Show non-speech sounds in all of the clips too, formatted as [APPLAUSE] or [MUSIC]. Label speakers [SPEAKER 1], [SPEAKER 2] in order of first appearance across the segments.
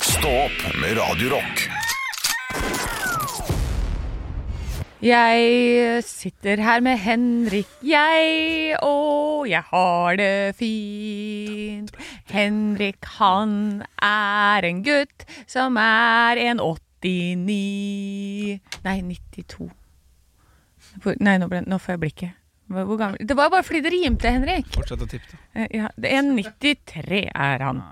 [SPEAKER 1] Stå opp med Radio Rock.
[SPEAKER 2] Jeg sitter her med Henrik, jeg, og jeg har det fint. Henrik, han er en gutt som er en 89 Nei, 92. Hvor- Nei, nå, ble, nå får jeg blikket. Hvor hvor gammel Det var bare fordi det rimte, Henrik.
[SPEAKER 3] Fortsett å tippe, da.
[SPEAKER 2] Eh, Ja, det er en 93 er han.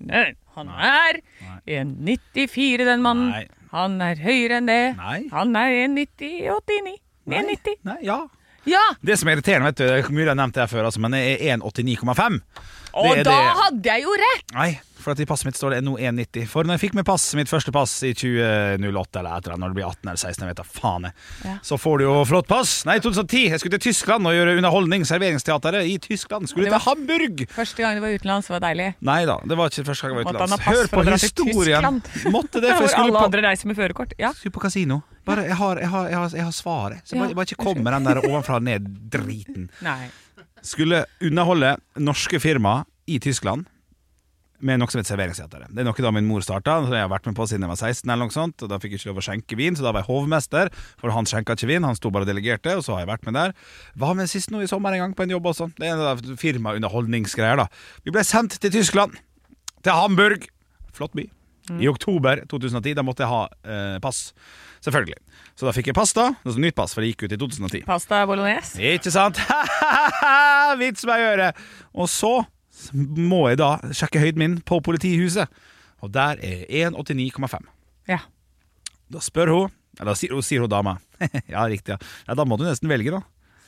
[SPEAKER 2] Nei, han er en 94, den mannen.
[SPEAKER 3] Nei.
[SPEAKER 2] Han er høyere enn det.
[SPEAKER 3] Nei.
[SPEAKER 2] Han er 1,90-89. 1,90.
[SPEAKER 3] Nei, ja.
[SPEAKER 2] Ja!
[SPEAKER 3] Det som er irriterende, vet du, det er mulig jeg har nevnt det her før, altså, men det er 1,89,5.
[SPEAKER 2] Og
[SPEAKER 3] Det er
[SPEAKER 2] da
[SPEAKER 3] det-
[SPEAKER 2] hadde jeg jo rett!
[SPEAKER 3] Nei, for at i passet mitt står det nå 1,90. For når jeg fikk med pass, mitt første pass i 2008 eller et eller annet, når du blir 18 eller 16, jeg vet da faen jeg,
[SPEAKER 2] Ja.
[SPEAKER 3] så får du jo flott pass. Nei, 2010. Jeg skulle til Tyskland og gjøre underholdning, serveringsteateret i Tyskland. Skulle
[SPEAKER 2] Det var-
[SPEAKER 3] til Hamburg!
[SPEAKER 2] Første gang du var utenlands, var deilig.
[SPEAKER 3] Nei da, det var ikke første gang jeg var
[SPEAKER 2] Måtte han ha
[SPEAKER 3] utenlands.
[SPEAKER 2] pass
[SPEAKER 3] Hør
[SPEAKER 2] for å
[SPEAKER 3] på
[SPEAKER 2] dra til
[SPEAKER 3] historien!
[SPEAKER 2] Tyskland?
[SPEAKER 3] [LAUGHS]
[SPEAKER 2] [LAUGHS]
[SPEAKER 3] Måtte det, for jeg
[SPEAKER 2] Hvor alle
[SPEAKER 3] skulle på
[SPEAKER 2] andre reiser med førerkort. Ja.
[SPEAKER 3] Skulle på kasino. Bare, jeg, har, jeg, har, jeg, har, jeg har svaret. Så
[SPEAKER 2] Ja.
[SPEAKER 3] bare, bare ikke kom med den der ovenfra og ned-driten.
[SPEAKER 2] Nei.
[SPEAKER 3] skulle underholde norske firma i Tyskland med noe som heter serveringssetere. Det er noe da min mor starta, som jeg har vært med på siden jeg var 16. eller noe sånt, og Da fikk jeg ikke lov å skjenke vin, så da var jeg hovmester. For han skjenka ikke vin, han sto bare og delegerte, og så har jeg vært med der. Var med sist nå i sommer en gang på en jobb også. Det er en av de firmaunderholdningsgreier, da. Vi ble sendt til Tyskland. Til Hamburg. Flott by. I oktober 2010. Da måtte jeg ha eh, pass. Selvfølgelig. Så da fikk jeg pass, da. Altså nytt pass, for det gikk ut i 2010.
[SPEAKER 2] Pasta bolognese.
[SPEAKER 3] Ikke sant? [LAUGHS] Vits meg i øret! Og så må jeg da sjekke høyden min på politihuset, og der er 1,89,5.
[SPEAKER 2] Ja.
[SPEAKER 3] Da spør hun Eller sier, sier hun dama. [LAUGHS] ja, riktig. Ja. ja, da må du nesten velge, da.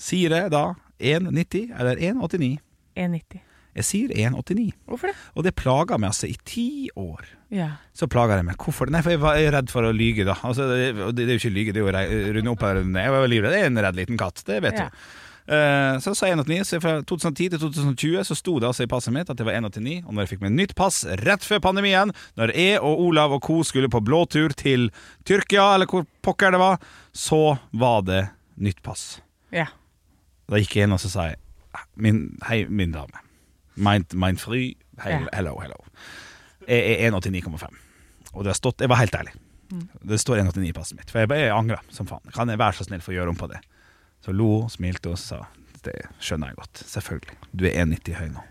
[SPEAKER 3] Sier jeg da 1,90 eller 1,89?
[SPEAKER 2] 1,90.
[SPEAKER 3] Jeg sier 1,89.
[SPEAKER 2] Hvorfor det?
[SPEAKER 3] Og det plager meg altså i ti år.
[SPEAKER 2] Ja.
[SPEAKER 3] Så plager jeg meg. Hvorfor? Nei, for jeg var jeg er redd for å lyge, da. Altså, det, det er jo ikke lyge, det er jo å runde opp og runde ned. Jeg var livredd. Jeg er en redd liten katt, det vet
[SPEAKER 2] Ja.
[SPEAKER 3] du. Eh, Så sa jeg 189, så fra 2010 til 2020 så sto det altså i passet mitt at det var 189. Og når jeg fikk meg nytt pass rett før pandemien, når jeg og Olav og co. skulle på blåtur til Tyrkia, eller hvor pokker det var, så var det nytt pass.
[SPEAKER 2] ja.
[SPEAKER 3] Da gikk jeg inn og så sa jeg min, Hei, min dame. Mein, mein fry. Hei,
[SPEAKER 2] Ja.
[SPEAKER 3] Hello, hello. Jeg er 1,89,5. Og det har stått Jeg var helt ærlig.
[SPEAKER 2] Mm.
[SPEAKER 3] Det står 1,89 i passet mitt. For jeg, bare- jeg angrer som faen. Kan jeg være så snill få gjøre om på det? Så lo hun, smilte og sa Det skjønner jeg godt. Selvfølgelig. Du er 1,90 høy
[SPEAKER 2] [LAUGHS]
[SPEAKER 3] nå.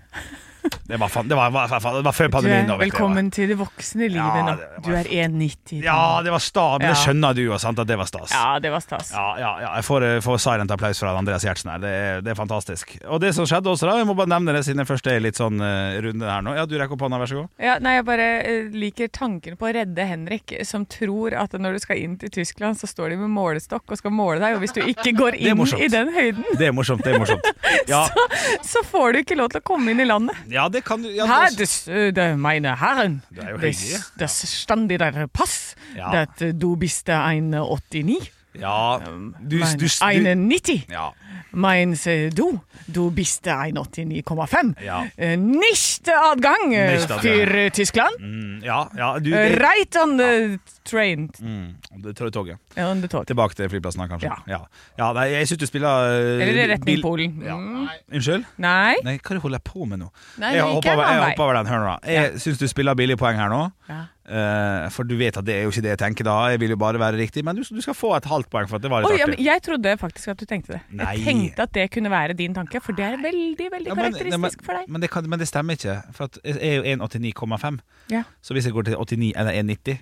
[SPEAKER 3] Det var, faen, det var, var, var, det var før
[SPEAKER 2] Du er
[SPEAKER 3] pandemien. nå, vet du.
[SPEAKER 2] velkommen til det voksne livet
[SPEAKER 3] Ja,
[SPEAKER 2] nå.
[SPEAKER 3] det var-
[SPEAKER 2] Du er 1,90.
[SPEAKER 3] Ja, det var stas. Men det
[SPEAKER 2] Ja.
[SPEAKER 3] skjønner du jo, sant, at det var stas.
[SPEAKER 2] Ja, det var stas.
[SPEAKER 3] Ja, ja, ja. jeg får, eh, får silent applaus fra Andreas Gjertsen her. Det er, det er fantastisk. Og det som skjedde også da, jeg må bare nevne det siden jeg først er litt sånn eh, runde her nå. Ja, du rekker opp hånda, vær så god.
[SPEAKER 2] Ja, nei, Jeg bare eh, liker tanken på å redde Henrik, som tror at når du skal inn til Tyskland, så står de med målestokk og skal måle deg, og hvis du ikke går
[SPEAKER 3] er
[SPEAKER 2] inn
[SPEAKER 3] morsomt.
[SPEAKER 2] i den høyden,
[SPEAKER 3] Det er morsomt, det er morsomt. Ja,
[SPEAKER 2] [LAUGHS] så får du ikke lov til å komme inn i landet.
[SPEAKER 3] ja det kan du ja,
[SPEAKER 2] Her,
[SPEAKER 3] det,
[SPEAKER 2] det, det meine Herren,
[SPEAKER 3] Du er jo
[SPEAKER 2] det,
[SPEAKER 3] høy,
[SPEAKER 2] det stand i der pass,
[SPEAKER 3] Ja.
[SPEAKER 2] at du bist ein 89,
[SPEAKER 3] ja, du,
[SPEAKER 2] mein
[SPEAKER 3] du, du,
[SPEAKER 2] ein 90,
[SPEAKER 3] ja,
[SPEAKER 2] meins eh, du, du bist ein 89,5.
[SPEAKER 3] Ja.
[SPEAKER 2] Eh, Nicht adgang eh,
[SPEAKER 3] Nicht adgang.
[SPEAKER 2] für Tyskland,
[SPEAKER 3] mm, ja, ja du,
[SPEAKER 2] Eh,
[SPEAKER 3] det,
[SPEAKER 2] right on the train,
[SPEAKER 3] mm, det tror jeg toget.
[SPEAKER 2] on the talk.
[SPEAKER 3] Tilbake til flyplassen, da, kanskje.
[SPEAKER 2] Ja.
[SPEAKER 3] Ja, ja nei, jeg syns du spiller eh,
[SPEAKER 2] Eller i retning
[SPEAKER 3] bil-
[SPEAKER 2] Polen.
[SPEAKER 3] Ja.
[SPEAKER 2] Mm.
[SPEAKER 3] Unnskyld?
[SPEAKER 2] Nei.
[SPEAKER 3] Nei, hva er det jeg holder på med nå?
[SPEAKER 2] Nei,
[SPEAKER 3] Jeg
[SPEAKER 2] det gikk
[SPEAKER 3] hopper over,
[SPEAKER 2] en
[SPEAKER 3] jeg
[SPEAKER 2] annen
[SPEAKER 3] hopper over den. Hør nå. da. Jeg syns du spiller billige poeng her nå.
[SPEAKER 2] Ja.
[SPEAKER 3] Eh, for du vet at det er jo ikke det jeg tenker da. Jeg vil jo bare være riktig. Men du, du skal få et halvt poeng for at det var litt
[SPEAKER 2] Oi, ja, men
[SPEAKER 3] artig.
[SPEAKER 2] jeg trodde faktisk at du tenkte det.
[SPEAKER 3] Nei.
[SPEAKER 2] Jeg tenkte at det kunne være din tanke, for det er veldig veldig
[SPEAKER 3] Ja, men-
[SPEAKER 2] karakteristisk
[SPEAKER 3] nei, men,
[SPEAKER 2] for deg.
[SPEAKER 3] Men det, kan, men det stemmer ikke. For at jeg er jo 1,89,5.
[SPEAKER 2] Ja,
[SPEAKER 3] Så hvis jeg går til 89 eller 1,90,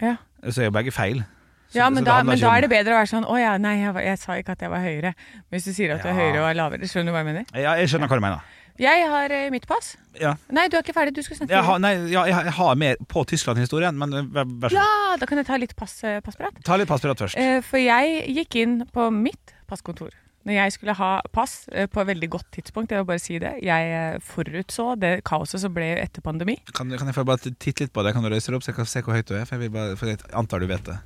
[SPEAKER 2] ja.
[SPEAKER 3] så er jo begge feil. Så,
[SPEAKER 2] ja men,
[SPEAKER 3] så
[SPEAKER 2] da,
[SPEAKER 3] handler
[SPEAKER 2] men
[SPEAKER 3] ikke
[SPEAKER 2] da
[SPEAKER 3] om-
[SPEAKER 2] er det bedre å være sånn Å ja, nei, jeg, var- jeg sa ikke at jeg var høyere. Men hvis du sier at du er
[SPEAKER 3] Ja.
[SPEAKER 2] høyere og er lavere, skjønner du hva jeg mener?
[SPEAKER 3] ja, Jeg skjønner hva du mener.
[SPEAKER 2] Jeg har eh, mitt pass.
[SPEAKER 3] Ja.
[SPEAKER 2] Nei, du er ikke ferdig. Du skulle snakke.
[SPEAKER 3] Jeg,
[SPEAKER 2] [LAUGHS]
[SPEAKER 3] har, nei, ja, jeg har- jeg har mer på Tyskland-historien, men eh, vær vær så god.
[SPEAKER 2] Ja, da kan jeg ta litt pass, eh, passprat.
[SPEAKER 3] Ta litt passpirat først.
[SPEAKER 2] Eh, For jeg gikk inn på mitt passkontor når jeg skulle ha pass eh, på et veldig godt tidspunkt. Jeg vil bare si det. Jeg eh, forutså det kaoset som ble etter pandemi.
[SPEAKER 3] Kan, kan jeg få bare titte litt på deg? Kan du røyse deg opp, så jeg kan se hvor høyt du er? For jeg, vil bare, for jeg antar du vet det.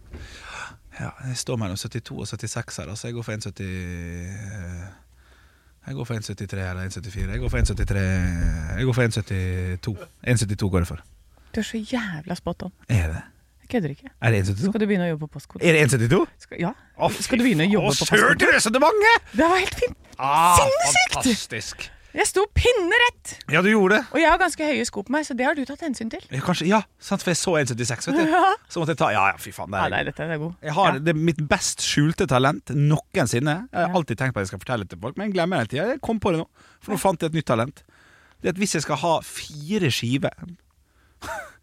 [SPEAKER 3] Ja, jeg står mellom 72 og 76 her, altså. Jeg går for 1,70 eh, Jeg går for 1,73 eller 1,74. Jeg går for 1,73 Jeg går for 1,72. 1,72 går jeg for.
[SPEAKER 2] Du er så jævla spot on.
[SPEAKER 3] Er det
[SPEAKER 2] Jeg kødder ikke.
[SPEAKER 3] Er det 1,72?
[SPEAKER 2] Skal du begynne å jobbe på postkontor?
[SPEAKER 3] Er det 1,72?
[SPEAKER 2] Skal, ja.
[SPEAKER 3] Å,
[SPEAKER 2] Skal du begynne å jobbe på
[SPEAKER 3] Å, søren,
[SPEAKER 2] postkontor?
[SPEAKER 3] det er så mange!
[SPEAKER 2] Det var helt fint!
[SPEAKER 3] Ah,
[SPEAKER 2] Sinnssykt!
[SPEAKER 3] Fantastisk.
[SPEAKER 2] Jeg sto pinnerett!
[SPEAKER 3] Ja, du gjorde det.
[SPEAKER 2] Og jeg har ganske høye sko på meg, så det har du tatt hensyn til.
[SPEAKER 3] Ja, kanskje, ja, sant, for jeg så 1,76, vet du. Så måtte jeg ta Ja, ja, fy faen. Det
[SPEAKER 2] Ja,
[SPEAKER 3] er,
[SPEAKER 2] nei, dette er god.
[SPEAKER 3] jeg har
[SPEAKER 2] ja.
[SPEAKER 3] det er mitt best skjulte talent noensinne. Jeg har
[SPEAKER 2] Ja.
[SPEAKER 3] alltid tenkt på at jeg skal fortelle det til folk, men jeg glemmer det hele tida. Jeg kom på det nå, for nå fant jeg et nytt talent. Det er at hvis jeg skal ha fire skiver [LAUGHS]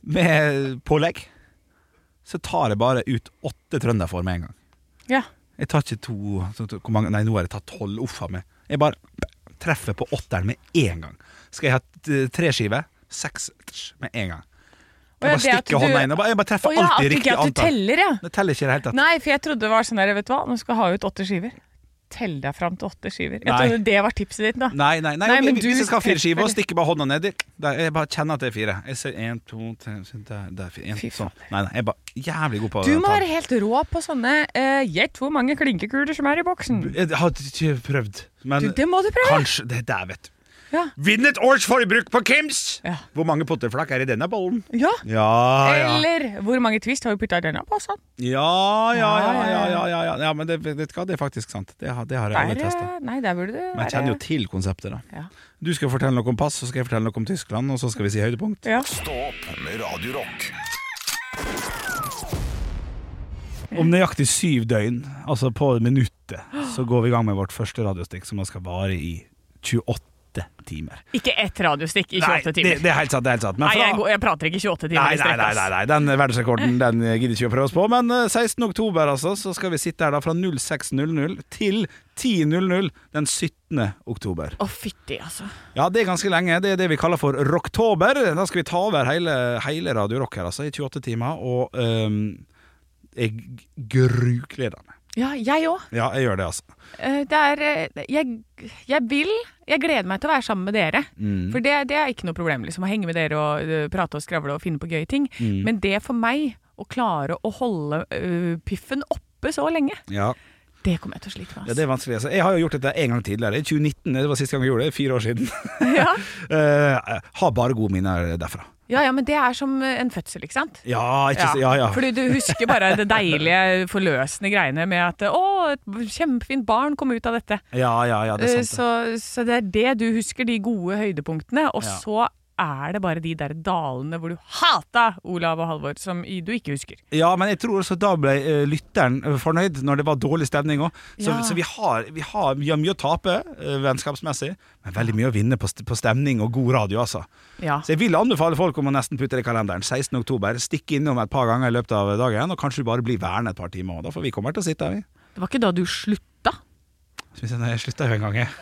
[SPEAKER 3] med pålegg, så tar jeg bare ut åtte trønderfor med en gang.
[SPEAKER 2] Ja.
[SPEAKER 3] Jeg tar ikke to så- så- hvor mange, Nei, nå har jeg tatt tolv. Uff a meg. Jeg bare treffer på åtteren med en gang. Skal jeg ha t- tre skiver? Seks med en gang.
[SPEAKER 2] Å, ja,
[SPEAKER 3] Jeg bare
[SPEAKER 2] det at
[SPEAKER 3] stikker
[SPEAKER 2] du-
[SPEAKER 3] hånda inn. Jeg bare, jeg bare treffer
[SPEAKER 2] Å ja, at
[SPEAKER 3] alltid
[SPEAKER 2] du
[SPEAKER 3] riktig
[SPEAKER 2] ikke at du
[SPEAKER 3] antall.
[SPEAKER 2] teller, ja.
[SPEAKER 3] Det teller ikke i det hele tatt.
[SPEAKER 2] Nei, for jeg trodde det var sånn der, vet du hva, nå skal jeg ha ut åtte skiver. Tell deg fram til åtte skiver. Jeg
[SPEAKER 3] Nei.
[SPEAKER 2] trodde det var tipset ditt, da.
[SPEAKER 3] Nei, nei, nei,
[SPEAKER 2] Nei, men
[SPEAKER 3] hvis
[SPEAKER 2] du
[SPEAKER 3] jeg skal ha fire
[SPEAKER 2] treffer
[SPEAKER 3] skiver og
[SPEAKER 2] det.
[SPEAKER 3] stikker bare hånda nedi Jeg bare kjenner at det er fire. Jeg ser én, to, tre så Der, der fire, en,
[SPEAKER 2] Fy
[SPEAKER 3] sånn.
[SPEAKER 2] fader.
[SPEAKER 3] Nei, nei, jeg er bare jævlig god på
[SPEAKER 2] Du må
[SPEAKER 3] tall.
[SPEAKER 2] være helt rå på sånne eh, Gjett hvor mange klinkekuler som er i boksen.
[SPEAKER 3] Jeg har ikke prøvd, men
[SPEAKER 2] Du, det må du prøve.
[SPEAKER 3] kanskje Det der, vet du.
[SPEAKER 2] Ja.
[SPEAKER 3] Vinn et års forbruk på Kims!
[SPEAKER 2] Ja.
[SPEAKER 3] Hvor mange potterflakk er i denne bollen?
[SPEAKER 2] ja.
[SPEAKER 3] Ja,
[SPEAKER 2] Eller hvor mange twist har vi putta i denne posen?
[SPEAKER 3] Ja, ja, ja, ja, ja, ja, ja. ja men det, vet du hva, det er faktisk sant. Det har, det har jeg
[SPEAKER 2] Der,
[SPEAKER 3] aldri testa.
[SPEAKER 2] eh, nei, der burde du
[SPEAKER 3] Men jeg kjenner jo til konseptet, da.
[SPEAKER 2] ja.
[SPEAKER 3] Du skal fortelle noe om pass, så skal jeg fortelle noe om Tyskland, og så skal vi si høydepunkt.
[SPEAKER 2] Ja.
[SPEAKER 1] Stå opp med Radio Rock.
[SPEAKER 3] Om nøyaktig syv døgn, altså på minuttet, så går vi i gang med vårt første radiostikk, som da skal vare i 28 timer.
[SPEAKER 2] Ikke ett radiostikk i
[SPEAKER 3] Nei,
[SPEAKER 2] 28
[SPEAKER 3] det,
[SPEAKER 2] timer.
[SPEAKER 3] det er helt sant. det er helt sant Men
[SPEAKER 2] nei, jeg,
[SPEAKER 3] fra-
[SPEAKER 2] går- jeg prater ikke 28 timer
[SPEAKER 3] Nei,
[SPEAKER 2] i
[SPEAKER 3] nei,
[SPEAKER 2] strekk.
[SPEAKER 3] nei,
[SPEAKER 2] ass.
[SPEAKER 3] nei, nei, den verdensrekorden den gidder ikke å prøve oss på. Men eh, 16. oktober altså, så skal vi sitte her da fra 06.00 til 10.00 den 17. oktober.
[SPEAKER 2] Å, fytti, altså.
[SPEAKER 3] Ja, det er ganske lenge. Det er det vi kaller for rocktober. Da skal vi ta over hele, hele Radio Rock her altså, i 28 timer, og ehm, jeg grugleder meg.
[SPEAKER 2] Ja, jeg òg.
[SPEAKER 3] Ja, jeg gjør det, altså.
[SPEAKER 2] Det er eh, jeg, jeg vil Jeg gleder meg til å være sammen med dere.
[SPEAKER 3] Mm,
[SPEAKER 2] For det, det er ikke noe problem, liksom, å henge med dere og eh, prate og skravle og finne på gøye ting.
[SPEAKER 3] mm.
[SPEAKER 2] Men det for meg, å klare å holde eh, piffen oppe så lenge,
[SPEAKER 3] Ja.
[SPEAKER 2] det kommer jeg til å slite med.
[SPEAKER 3] Ja,
[SPEAKER 2] ass.
[SPEAKER 3] det er vanskelig. Altså. Jeg har jo gjort dette en gang tidligere. I 2019, det var siste gang jeg gjorde det. Fire år siden.
[SPEAKER 2] [LAUGHS] Ja.
[SPEAKER 3] [LAUGHS] Eh, har bare gode minner derfra.
[SPEAKER 2] ja, ja, men det er som øh, en fødsel, ikke sant?
[SPEAKER 3] Ja, ikke, ja. ja, ja.
[SPEAKER 2] Fordi du husker bare det deilige, øh, forløsende greiene med at 'Å, et kjempefint barn kom ut av dette'.
[SPEAKER 3] Ja, ja, ja, det er sant. det.
[SPEAKER 2] så, så det er det du husker, de gode høydepunktene. Og
[SPEAKER 3] Ja.
[SPEAKER 2] så er det bare de der dalene hvor du hata Olav og Halvor, som i- du ikke husker.
[SPEAKER 3] Ja, men jeg tror også da ble eh, lytteren eh, fornøyd når det var dårlig stemning òg. Så,
[SPEAKER 2] Ja.
[SPEAKER 3] så vi, har, vi, har, vi har mye å tape eh, vennskapsmessig, men veldig mye å vinne på, st- på stemning og god radio, altså.
[SPEAKER 2] Ja.
[SPEAKER 3] Så jeg vil anbefale folk om å nesten putte det i kalenderen. 16. oktober. Stikk innom et par ganger i løpet av dagen, og kanskje du bare blir værende et par timer òg, da, for vi kommer til å sitte her, vi.
[SPEAKER 2] Det var ikke da du slutta.
[SPEAKER 3] Skal vi se, nei, Jeg slutta jo en gang, jeg. [LAUGHS]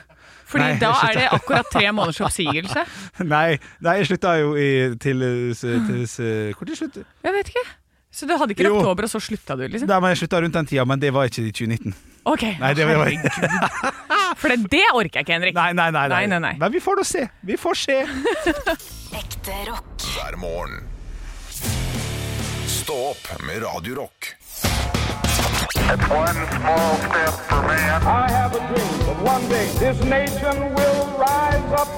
[SPEAKER 2] Fordi
[SPEAKER 3] Nei,
[SPEAKER 2] da
[SPEAKER 3] jeg
[SPEAKER 2] er det akkurat tre måneders oppsigelse.
[SPEAKER 3] Nei, nei jeg slutta jo i, til, eh, s- til, s- Hvor til slutt?
[SPEAKER 2] Jeg vet ikke. Så du hadde ikke
[SPEAKER 3] Jo.
[SPEAKER 2] oktober, og så slutta du, liksom?
[SPEAKER 3] Nei, men jeg slutta rundt den tida, men det var ikke i 2019.
[SPEAKER 2] Ok,
[SPEAKER 3] Nei, det var,
[SPEAKER 2] [LAUGHS] For det, det orker jeg ikke, Henrik.
[SPEAKER 3] nei, nei, nei,
[SPEAKER 2] Nei, nei, nei.
[SPEAKER 3] Men vi får nå se. Vi får se.
[SPEAKER 4] Ekte rock.
[SPEAKER 1] hver morgen. Stå opp med Radio Rock.
[SPEAKER 5] One small step for man.
[SPEAKER 6] I have a dream that one day this nation will rise up.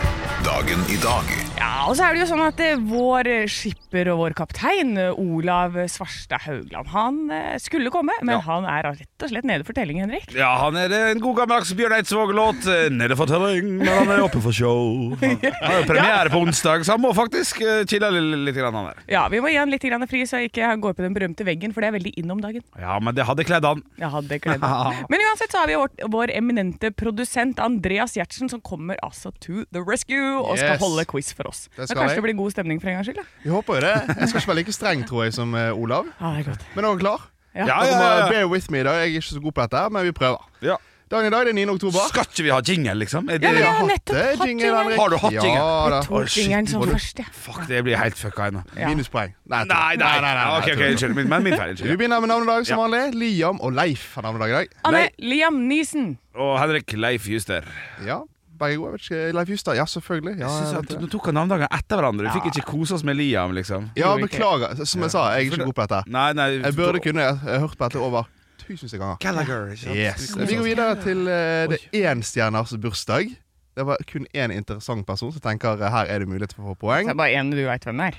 [SPEAKER 1] Dagen i dag
[SPEAKER 2] Ja, og så er det jo sånn at eh, vår eh, skipper og vår kaptein, eh, Olav Svarstad Haugland, han eh, skulle komme, men han er rett og slett nede for telling, Henrik.
[SPEAKER 3] Ja, han er en god gammeldags Bjørn Eidsvåg-låt. eh, Nede for telling, men han er oppe for show. [LAUGHS] Han har jo premiere på onsdag, så han må faktisk eh, chille li- litt. Grann, han der.
[SPEAKER 2] Ja, vi må gi han litt grann fri, så ikke han går på den berømte veggen, for det er veldig inn om dagen.
[SPEAKER 3] Ja, men det hadde kledd han.
[SPEAKER 2] Jeg hadde kledd han. Men uansett så har vi vår, vår eminente produsent Andreas Gjertsen, som kommer altså to the rescue og skal
[SPEAKER 7] Yes.
[SPEAKER 2] holde quiz for oss.
[SPEAKER 7] Det
[SPEAKER 2] Men
[SPEAKER 7] skal
[SPEAKER 2] kanskje
[SPEAKER 7] jeg.
[SPEAKER 2] det blir god stemning for en gangs skyld? da?
[SPEAKER 7] Vi håper jo det. Jeg skal ikke være like streng tror jeg, som eh, Olav,
[SPEAKER 2] Ja, det er godt.
[SPEAKER 7] men er dere klar?
[SPEAKER 2] Ja.
[SPEAKER 3] Ja,
[SPEAKER 7] Dere
[SPEAKER 3] ja,
[SPEAKER 7] må
[SPEAKER 3] ja, ja.
[SPEAKER 7] bear with me i dag. Jeg er ikke så god på dette, her, men vi prøver.
[SPEAKER 3] Ja.
[SPEAKER 7] Dagen i dag det er 9. oktober.
[SPEAKER 3] Skal ikke vi ha jingle, liksom? Er
[SPEAKER 2] Ja, men
[SPEAKER 3] det,
[SPEAKER 2] jeg
[SPEAKER 7] har
[SPEAKER 2] har
[SPEAKER 7] hatt
[SPEAKER 2] nettopp
[SPEAKER 7] det,
[SPEAKER 2] hatt
[SPEAKER 7] jingle,
[SPEAKER 2] jingle.
[SPEAKER 7] Henrik.
[SPEAKER 3] Har du hatt
[SPEAKER 7] Ja
[SPEAKER 3] jingle?
[SPEAKER 7] da.
[SPEAKER 2] To
[SPEAKER 3] Å, shit,
[SPEAKER 2] fingeren som
[SPEAKER 3] må du-
[SPEAKER 2] først, ja.
[SPEAKER 3] Fuck, det blir helt fucka ennå.
[SPEAKER 2] Ja.
[SPEAKER 7] Minuspoeng. Nei, jeg tror
[SPEAKER 3] Nei,
[SPEAKER 7] ikke.
[SPEAKER 3] nei,
[SPEAKER 7] nei, nei,
[SPEAKER 3] Ok,
[SPEAKER 7] nei, jeg
[SPEAKER 3] ok,
[SPEAKER 7] tror ikke.
[SPEAKER 3] Unnskyld. Min, men min feil.
[SPEAKER 7] Vi
[SPEAKER 3] Unnskyld.
[SPEAKER 7] begynner med navnedag som
[SPEAKER 3] Ja.
[SPEAKER 7] vanlig. Liam og Leif har navnedag i dag.
[SPEAKER 2] Anne
[SPEAKER 3] Nei.
[SPEAKER 2] Liam Nisen.
[SPEAKER 3] Og Henrik Leif Juster.
[SPEAKER 7] Ja, begge gode. Jeg vet ikke. Leif Justad, ja, selvfølgelig. Ja,
[SPEAKER 3] Jeg synes
[SPEAKER 7] jeg
[SPEAKER 3] at
[SPEAKER 7] vet
[SPEAKER 3] Nå
[SPEAKER 7] det.
[SPEAKER 3] tok han navnedagene etter hverandre. Vi fikk ikke kose oss med Liam, liksom.
[SPEAKER 7] ja
[SPEAKER 2] gjorde ikke.
[SPEAKER 7] beklager. Som jeg sa, jeg er ikke god på dette.
[SPEAKER 3] Nei, nei
[SPEAKER 7] Jeg burde kunne. Jeg har hørt på dette over tusenvis av ganger.
[SPEAKER 3] Gallagher. ikke sant?
[SPEAKER 7] Yes. Vi
[SPEAKER 3] sånn.
[SPEAKER 7] går videre til eh, det énstjerners bursdag. Det var kun én interessant person som tenker eh, her er det mulighet for å få poeng.
[SPEAKER 2] Det er bare én du veit hvem er.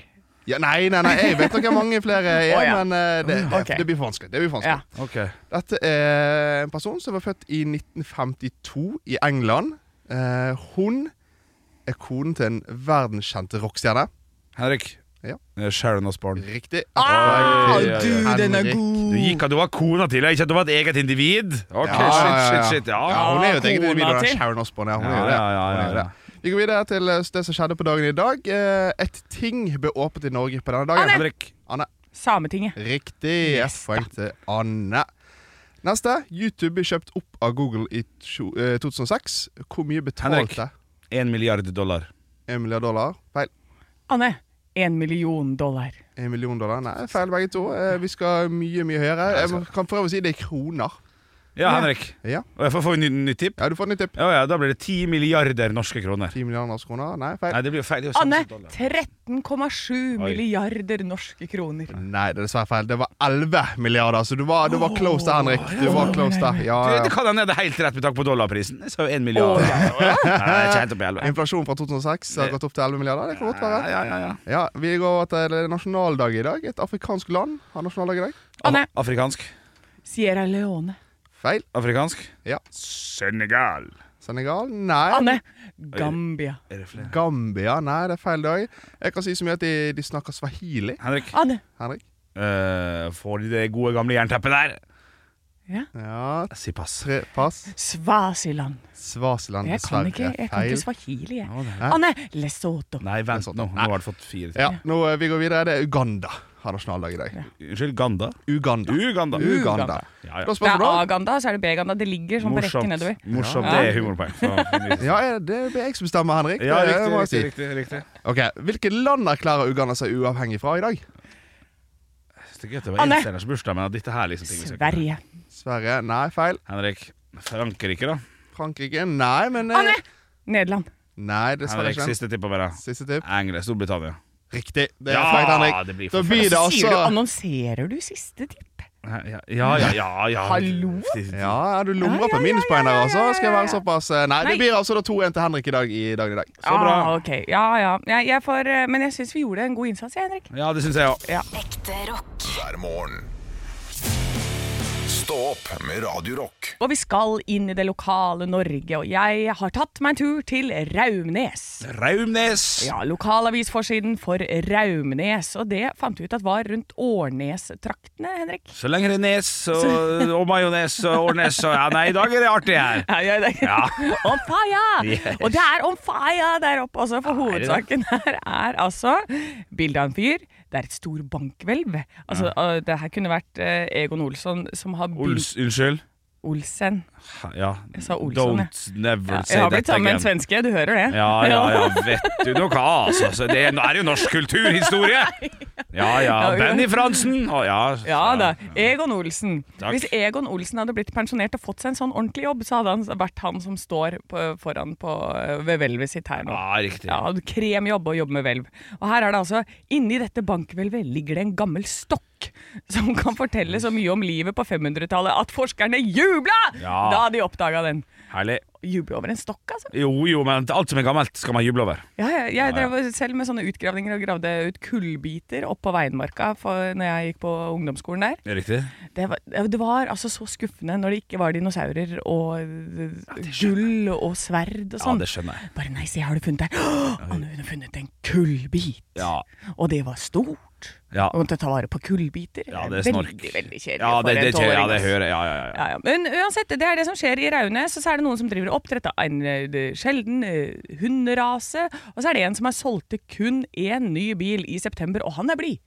[SPEAKER 7] Ja, nei, nei, nei, jeg vet nok hvor mange flere er,
[SPEAKER 2] [LAUGHS] Å, ja. Mm,
[SPEAKER 7] men eh, det, det,
[SPEAKER 2] Ok.
[SPEAKER 7] det blir for vanskelig. Det blir for
[SPEAKER 2] Ja.
[SPEAKER 7] vanskelig.
[SPEAKER 3] Ok.
[SPEAKER 7] Dette er en person som var født i 1952 i England. Eh, hun er konen til en verdenskjent rockestjerne.
[SPEAKER 3] Henrik.
[SPEAKER 7] Ja.
[SPEAKER 3] Eh, Sharon Osbourne.
[SPEAKER 7] Riktig.
[SPEAKER 2] Ah,
[SPEAKER 3] Oi, oi, oi.
[SPEAKER 2] du, den er
[SPEAKER 7] Henrik.
[SPEAKER 3] Du
[SPEAKER 2] god!
[SPEAKER 3] gikk at du var kona til, ikke at du var et eget individ. Ok,
[SPEAKER 7] Mm. Ja, ja, ja, ja.
[SPEAKER 3] shit, shit, shit,
[SPEAKER 7] Ja,
[SPEAKER 3] ja.
[SPEAKER 7] hun er jo et eget
[SPEAKER 2] Kona
[SPEAKER 7] individ. hun er
[SPEAKER 2] til.
[SPEAKER 7] Sharon Osbourne. Ja, hun
[SPEAKER 3] Ja,
[SPEAKER 7] er jo det.
[SPEAKER 3] ja, ja,
[SPEAKER 7] Hun
[SPEAKER 3] ja,
[SPEAKER 7] er jo
[SPEAKER 3] ja.
[SPEAKER 7] det. Vi går videre til eh, det som skjedde på dagen i dag. Eh, Et ting ble åpnet i Norge på denne dagen.
[SPEAKER 3] Henrik.
[SPEAKER 7] Anne.
[SPEAKER 2] Sametinget.
[SPEAKER 7] Riktig. Ett poeng til Anne. Neste. YouTube ble kjøpt opp av Google i tjo- eh, 2006. Hvor mye
[SPEAKER 3] Henrik.
[SPEAKER 7] betalte
[SPEAKER 3] En milliard dollar.
[SPEAKER 7] En milliard dollar? Feil.
[SPEAKER 2] Anne, én million dollar.
[SPEAKER 7] En million dollar? Nei, feil begge to. Eh, Vi skal mye, mye høyere. Jeg må- kan for øvrig si det er kroner.
[SPEAKER 3] Ja, Henrik.
[SPEAKER 7] Ja,
[SPEAKER 3] Og jeg får, får vi nytt ny tipp?
[SPEAKER 7] ja du får et nytt tipp.
[SPEAKER 3] Ja, ja, da blir det ti milliarder norske kroner.
[SPEAKER 7] 10 milliarder norske kroner? Nei, feil.
[SPEAKER 3] Nei, det blir jo feil. det er jo samme
[SPEAKER 2] Anne,
[SPEAKER 3] som dollar.
[SPEAKER 2] 13,7
[SPEAKER 3] Oi.
[SPEAKER 2] milliarder norske kroner.
[SPEAKER 7] Nei, det er dessverre feil. Det var 11 milliarder, så du var, du var close der, Henrik. Du var close der. Ja,
[SPEAKER 3] Du,
[SPEAKER 7] ja.
[SPEAKER 3] det kan hende det er helt rett med tanke på dollarprisen. Jeg sa jo én milliard. [LAUGHS] Nei, det er ikke helt opp i elleve.
[SPEAKER 7] Inflasjonen fra 2006 har gått opp til 11 milliarder. Det kan godt være.
[SPEAKER 3] Ja, ja, ja.
[SPEAKER 7] Ja, Vi går over til nasjonaldag i dag. Et afrikansk land har nasjonaldag i dag.
[SPEAKER 2] Anne,
[SPEAKER 3] Afrikansk.
[SPEAKER 2] Sierra Leone.
[SPEAKER 7] Feil.
[SPEAKER 3] Afrikansk.
[SPEAKER 7] Ja.
[SPEAKER 3] Senegal.
[SPEAKER 7] Senegal? Nei.
[SPEAKER 2] Anne, Gambia.
[SPEAKER 3] Er det flere?
[SPEAKER 7] Gambia? Nei, det er feil dag. Jeg kan si så mye at de, de snakker swahili.
[SPEAKER 3] Henrik,
[SPEAKER 2] Anne.
[SPEAKER 7] Henrik?
[SPEAKER 3] eh, får de det gode gamle jernteppet der?
[SPEAKER 2] Ja.
[SPEAKER 7] Ja,
[SPEAKER 3] Si pass.
[SPEAKER 7] tre pass.
[SPEAKER 2] Svasiland.
[SPEAKER 7] Svasiland,
[SPEAKER 2] Jeg kan ikke,
[SPEAKER 7] dessverre.
[SPEAKER 2] jeg kan ikke
[SPEAKER 7] Feil.
[SPEAKER 2] swahili, jeg.
[SPEAKER 7] Hæ?
[SPEAKER 2] Anne, Lesotho.
[SPEAKER 3] Nei, vent nå. Nå har du fått fire til.
[SPEAKER 7] Ja, nå eh, Vi går videre. Det er Uganda har nasjonaldag i dag.
[SPEAKER 3] Unnskyld, Ganda?
[SPEAKER 7] Uganda.
[SPEAKER 3] Uganda.
[SPEAKER 7] Uganda.
[SPEAKER 3] Ja, ja.
[SPEAKER 7] Da
[SPEAKER 2] Det
[SPEAKER 7] spør
[SPEAKER 2] er
[SPEAKER 7] du, da.
[SPEAKER 2] A-ganda, så er det B-ganda. Det ligger sånn på rekken
[SPEAKER 3] Morsomt.
[SPEAKER 2] nedover.
[SPEAKER 3] Morsomt.
[SPEAKER 2] Ja.
[SPEAKER 3] Det er humorpoeng.
[SPEAKER 7] [LAUGHS]
[SPEAKER 3] Ja,
[SPEAKER 7] Ja, er det det er jeg som bestemmer, Henrik.
[SPEAKER 3] ja
[SPEAKER 7] Det
[SPEAKER 3] riktig,
[SPEAKER 7] må jeg
[SPEAKER 3] riktig,
[SPEAKER 7] si.
[SPEAKER 3] riktig, riktig.
[SPEAKER 7] Ok, Hvilke land erklærer Uganda seg uavhengig fra i dag?
[SPEAKER 3] Det er gøy at det var
[SPEAKER 2] Anne.
[SPEAKER 3] enstjerners bursdag, men at dette her er liksom ting vi skal kunne.
[SPEAKER 2] Sverige.
[SPEAKER 7] Sverige? Nei, feil.
[SPEAKER 3] Henrik. Frankrike, da?
[SPEAKER 7] Frankrike? Nei, men eh,
[SPEAKER 2] Anne! Nederland.
[SPEAKER 7] Nei, dessverre
[SPEAKER 3] Henrik,
[SPEAKER 7] ikke. den.
[SPEAKER 3] siste tipp å være.
[SPEAKER 7] Siste tipp.
[SPEAKER 3] England. Storbritannia.
[SPEAKER 7] Riktig. Det er
[SPEAKER 3] Ja,
[SPEAKER 7] feil, Henrik.
[SPEAKER 3] det blir
[SPEAKER 7] da
[SPEAKER 3] for
[SPEAKER 7] blir det
[SPEAKER 2] Sier du,
[SPEAKER 7] altså
[SPEAKER 2] annonserer du siste tipp?
[SPEAKER 3] Ja, ja, ja. ja, ja.
[SPEAKER 2] Hallo?
[SPEAKER 7] Ja, er du lumrer
[SPEAKER 2] Ja, ja,
[SPEAKER 7] på
[SPEAKER 2] ja,
[SPEAKER 7] minuspoeng der,
[SPEAKER 2] ja,
[SPEAKER 7] altså?
[SPEAKER 2] ja,
[SPEAKER 7] Skal jeg
[SPEAKER 2] ja,
[SPEAKER 7] være
[SPEAKER 2] ja.
[SPEAKER 7] såpass eh, Nei, det
[SPEAKER 2] Nei.
[SPEAKER 7] blir altså da 2-1 til Henrik i dag. I dagen i dag.
[SPEAKER 3] Så bra.
[SPEAKER 2] Ah, ok. Ja, ja. Jeg, jeg får, eh, men jeg syns vi gjorde en god innsats, jeg, Henrik.
[SPEAKER 3] Ja, det syns jeg òg.
[SPEAKER 4] Ekte rock.
[SPEAKER 1] hver morgen. Stå opp med Radio Rock.
[SPEAKER 2] Og vi skal inn i det lokale Norge, og jeg har tatt meg en tur til Raumnes.
[SPEAKER 3] Raumnes.
[SPEAKER 2] Ja, lokalavisforsiden for Raumnes, og det fant vi ut at var rundt Årnes-traktene, Henrik.
[SPEAKER 3] Så lenge det er nes og, og majones og ornes og ja, Nei, i dag er det artig her.
[SPEAKER 2] Ja, ja, det,
[SPEAKER 3] [LAUGHS] Ja.
[SPEAKER 2] on fire!
[SPEAKER 3] Yes.
[SPEAKER 2] Og det er on fire der oppe også, for
[SPEAKER 3] er det
[SPEAKER 2] hovedsaken her er altså bilde av en fyr. Det er et stor bankhvelv. Altså, øh, Det her kunne vært eh, Egon Olsson som har bygd
[SPEAKER 3] Ols, unnskyld.
[SPEAKER 2] Olsen.
[SPEAKER 3] Ja.
[SPEAKER 2] Jeg sa Olsson, jeg.
[SPEAKER 3] Don't never
[SPEAKER 2] Ja,
[SPEAKER 3] say
[SPEAKER 2] jeg har blitt
[SPEAKER 3] that
[SPEAKER 2] sammen med
[SPEAKER 3] again.
[SPEAKER 2] en svenske, du hører det?
[SPEAKER 3] Ja, ja, ja, vet du noe, altså. Så det er, nå er det jo norsk
[SPEAKER 2] [LAUGHS]
[SPEAKER 3] kulturhistorie. Ja, ja.
[SPEAKER 2] Ja,
[SPEAKER 3] Benny Fransen. Å, ja.
[SPEAKER 2] [LAUGHS] Ja da. Egon Olsen.
[SPEAKER 3] Takk.
[SPEAKER 2] Hvis Egon Olsen hadde blitt pensjonert og fått seg en sånn ordentlig jobb, så hadde han vært han som står på, foran på, eh, ved hvelvet sitt her nå.
[SPEAKER 3] Ja, riktig.
[SPEAKER 2] Ja, hadde kremjobb og jobbe med hvelv. Og her er det altså, inni dette bankhvelvet ligger det en gammel stokk som [LAUGHS] kan fortelle så mye om livet på 500-tallet at forskerne jubla
[SPEAKER 3] Ja.
[SPEAKER 2] da de oppdaga den.
[SPEAKER 3] Herlig.
[SPEAKER 2] Juble over en stokk, altså.
[SPEAKER 3] Jo, jo, men alt som er gammelt, skal man juble over.
[SPEAKER 2] Ja, jeg, jeg drev selv med sånne utgravninger og gravde ut kullbiter oppå Veinmarka for, når jeg gikk på ungdomsskolen der.
[SPEAKER 3] Riktig.
[SPEAKER 2] Det var, det var altså så skuffende når det ikke var dinosaurer og eh, gull og sverd og
[SPEAKER 3] Ja,
[SPEAKER 2] sånn.
[SPEAKER 3] det skjønner jeg.
[SPEAKER 2] Bare nei, se, har du funnet det? Å, Anne, hun har funnet en kullbit.
[SPEAKER 3] Ja.
[SPEAKER 2] Og det var stort.
[SPEAKER 3] Ja.
[SPEAKER 2] Å måtte ta vare på kullbiter.
[SPEAKER 3] Ja, det er snork.
[SPEAKER 2] Veldig, veldig kjedelig
[SPEAKER 3] Ja, det,
[SPEAKER 2] for
[SPEAKER 3] det,
[SPEAKER 2] en
[SPEAKER 3] det,
[SPEAKER 2] tolvåring. altså.
[SPEAKER 3] ja, det
[SPEAKER 2] ass.
[SPEAKER 3] hører jeg. Ja, ja, ja.
[SPEAKER 2] Ja, ja. Men uansett, det er det som skjer i Raunes. Så er det noen som driver og oppdrett av en eh, det- sjelden eh, hunderase. Og så er det en som har solgt til kun én ny bil i september, og han er blid.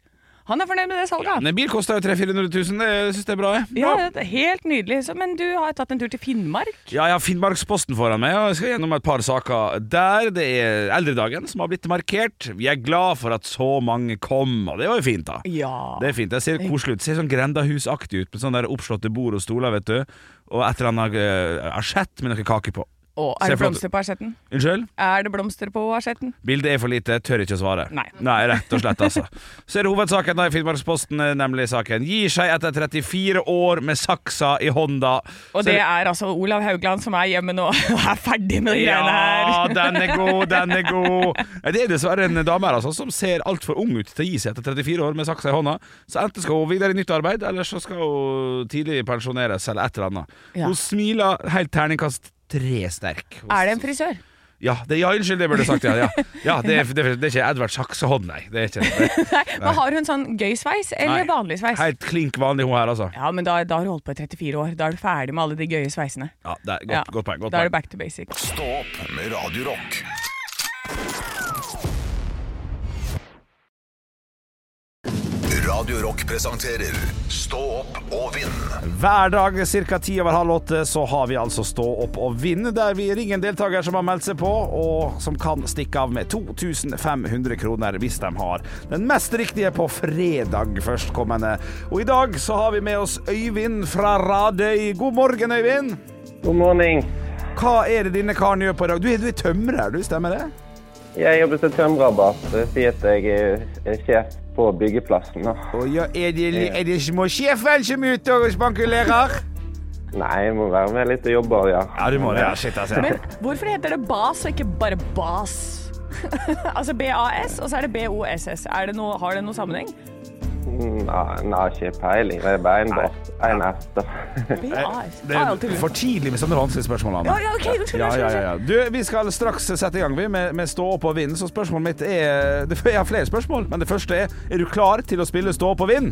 [SPEAKER 2] Han er fornøyd med det salget.
[SPEAKER 3] Men en bil koster jo 300 000-400 000, det syns jeg er bra. jeg.
[SPEAKER 2] Ja, det er helt nydelig. Så, men du har tatt en tur til Finnmark.
[SPEAKER 3] Ja, jeg har Finnmarksposten foran meg, og jeg skal gjennom et par saker der. Det er eldredagen som har blitt markert. Vi er glad for at så mange kom, og det var jo fint, da.
[SPEAKER 2] Ja.
[SPEAKER 3] Det er fint. Det ser koselig ut. Ser sånn grendahusaktig ut, med sånn der oppslåtte bord og stoler, vet du. Og et eller annet eh, asjett med noe kake på.
[SPEAKER 2] Å, er det
[SPEAKER 3] Ser flott
[SPEAKER 2] blomster på asjetten?
[SPEAKER 3] Unnskyld?
[SPEAKER 2] Er det blomster på asjetten?
[SPEAKER 3] Bildet er for lite, jeg tør ikke å svare.
[SPEAKER 2] Nei.
[SPEAKER 3] rett og slett, altså. Så er det hovedsaken da i Finnmarksposten, eh, nemlig saken Gir seg etter 34 år med saksa i hånda.
[SPEAKER 2] Og
[SPEAKER 3] Så
[SPEAKER 2] det er altså Olav Haugland som er hjemme nå [LAUGHS] og er ferdig med de greiene
[SPEAKER 3] Ja,
[SPEAKER 2] her.
[SPEAKER 3] [LAUGHS] den er god, den er god. Nei, Det er dessverre en dame her altså, som ser altfor ung ut til å gi seg etter 34 år med saksa i hånda. Så enten skal hun videre i nytt arbeid, eller så skal hun tidlig pensjoneres, eller et eller annet.
[SPEAKER 2] Ja.
[SPEAKER 3] Hun smiler helt terningkast tre sterk.
[SPEAKER 2] Er det en frisør?
[SPEAKER 3] Ja, det, ja unnskyld, det burde jeg sagt. Ja, ja. ja det, er,
[SPEAKER 2] [LAUGHS]
[SPEAKER 3] det, er, det er ikke Edvard Saksehånd, nei. Det er ikke det.
[SPEAKER 2] Nei, men Har hun sånn gøy sveis eller
[SPEAKER 3] Nei.
[SPEAKER 2] vanlig sveis?
[SPEAKER 3] Helt klink vanlig hun her, altså.
[SPEAKER 2] Ja, men da, da har du holdt på i 34 år. Da er du ferdig med alle de gøye sveisene.
[SPEAKER 3] Ja, det er, godt,
[SPEAKER 2] Ja,
[SPEAKER 3] godt poeng. Godt
[SPEAKER 2] da er det
[SPEAKER 3] poeng.
[SPEAKER 2] back to basic.
[SPEAKER 1] Stå opp med Radio Rock. Radio Rock presenterer Stå opp og vinn.
[SPEAKER 3] Hver dag ca. ti over halv åtte så har vi altså Stå opp og vinn, der vi ringer en deltaker som har meldt seg på, og som kan stikke av med 2500 kroner hvis de har den mest riktige på fredag førstkommende. Og i dag så har vi med oss Øyvind fra Radøy. God morgen, Øyvind.
[SPEAKER 8] God morgen.
[SPEAKER 3] Hva er det denne karen gjør på i dag? Du er, du er tømrer, du, stemmer det?
[SPEAKER 8] Jeg jobber som tømrerrabatt. Det sier at jeg er- er sjef på byggeplassen. da.
[SPEAKER 3] Og ja, er det, er det små sjefen som er ute og spankulerer?
[SPEAKER 8] Nei, jeg må være med litt og jobbe, ja.
[SPEAKER 3] Ja, du må det. Ja, shit, altså.
[SPEAKER 2] Men hvorfor heter det BAS og ikke bare BAS? [LAUGHS] altså BAS, og så er det BOSS. Er det noe, har det noe sammenheng?
[SPEAKER 3] Eh,
[SPEAKER 8] Nei, Mm, nei, ikke peiling. Det er bare en båt. En hest. da. [LAUGHS]
[SPEAKER 2] BAS.
[SPEAKER 3] Det
[SPEAKER 2] Ah, alltid
[SPEAKER 3] er
[SPEAKER 2] lurt.
[SPEAKER 3] for tidlig med sånne vanskelige spørsmål. Anne.
[SPEAKER 2] Ja, ja, ok, unnskyld,
[SPEAKER 3] Ja, ja,
[SPEAKER 2] unnskyld,
[SPEAKER 3] ja, ja. Du, vi skal straks sette i gang vi, med, med Stå opp og vinn, så spørsmålet mitt er [LAUGHS] det- Jeg har flere spørsmål, men det første er Er du klar til å spille Stå opp og vinn?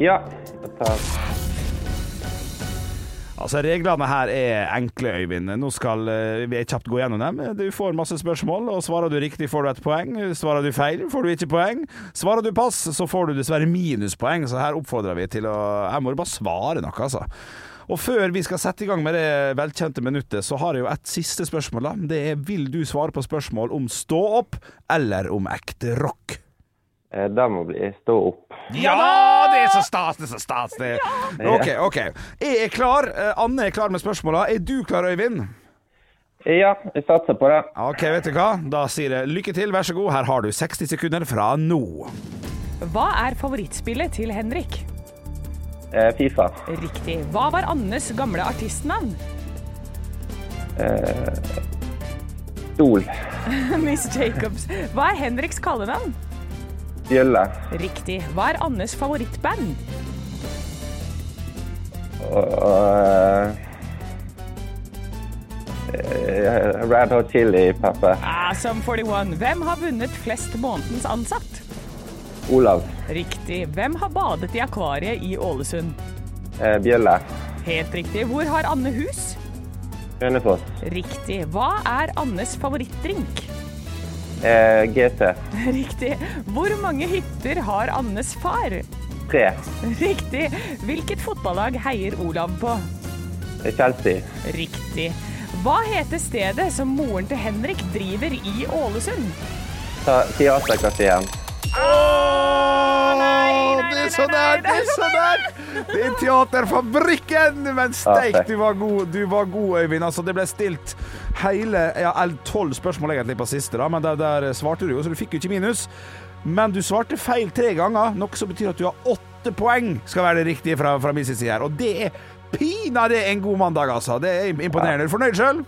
[SPEAKER 8] Ja. jeg tar-
[SPEAKER 3] Altså, Reglene her er enkle, Øyvind. Nå skal eh, vi kjapt gå gjennom dem. Du får masse spørsmål, og svarer du riktig, får du et poeng. Svarer du feil, får du ikke poeng. Svarer du pass, så får du dessverre minuspoeng, så her oppfordrer vi til å Her må du bare svare noe, altså. Og før vi skal sette i gang med det velkjente minuttet, så har jeg jo et siste spørsmål, da. Det er vil du svare på spørsmål om stå opp eller om ekte rock?
[SPEAKER 8] Eh, Det må bli stå opp.
[SPEAKER 3] Ja Det er så stas, det er så stas, det. OK, OK. Jeg er klar. Eh, Anne er klar med spørsmåla. Er du klar, Øyvind?
[SPEAKER 8] Ja, jeg satser på det.
[SPEAKER 3] Ok, vet du hva? Da sier jeg lykke til, vær så god. Her har du 60 sekunder fra nå.
[SPEAKER 2] Hva er favorittspillet til Henrik?
[SPEAKER 8] Eh, Fifa.
[SPEAKER 2] Riktig. Hva var Annes gamle artistnavn? [LAUGHS]
[SPEAKER 8] Stol.
[SPEAKER 2] Miss Jacobs. Hva er Henriks kallenavn?
[SPEAKER 8] Bjølle.
[SPEAKER 2] Riktig. Hva er Annes favorittband?
[SPEAKER 8] Og, og eh, Red Hot Chili Pepper.
[SPEAKER 2] Ah, som 41. Hvem har vunnet flest månedens ansatt?
[SPEAKER 8] Olav.
[SPEAKER 2] Riktig. Hvem har badet i akvariet i Ålesund?
[SPEAKER 8] Eh, Bjølle.
[SPEAKER 2] Helt riktig. Hvor har Anne hus?
[SPEAKER 8] Hønefoss.
[SPEAKER 2] Riktig. Hva er Annes favorittdrink? [LAUGHS]
[SPEAKER 8] Eh, GT.
[SPEAKER 2] Riktig. Hvor mange hytter har Annes far? [LAUGHS]
[SPEAKER 8] Tre.
[SPEAKER 2] Riktig. Hvilket fotballag heier Olav på?
[SPEAKER 8] Chelsea.
[SPEAKER 2] Riktig. Hva heter stedet som moren til Henrik driver i Ålesund?
[SPEAKER 8] Ta- Teaterkafeen.
[SPEAKER 3] Åh, det er så nær, det er så nær! Det er Teaterfabrikken! Men steik, du var god, du var god Øyvind. Altså, det ble stilt hele ja, tolv spørsmål egentlig på siste, da, men der, der svarte du jo, så du fikk jo ikke minus. Men du svarte feil tre ganger, noe som betyr at du har åtte poeng, skal være det riktige fra, fra min side her. Og det er pinadø en god mandag, altså. Det er imponerende. Er du fornøyd sjøl?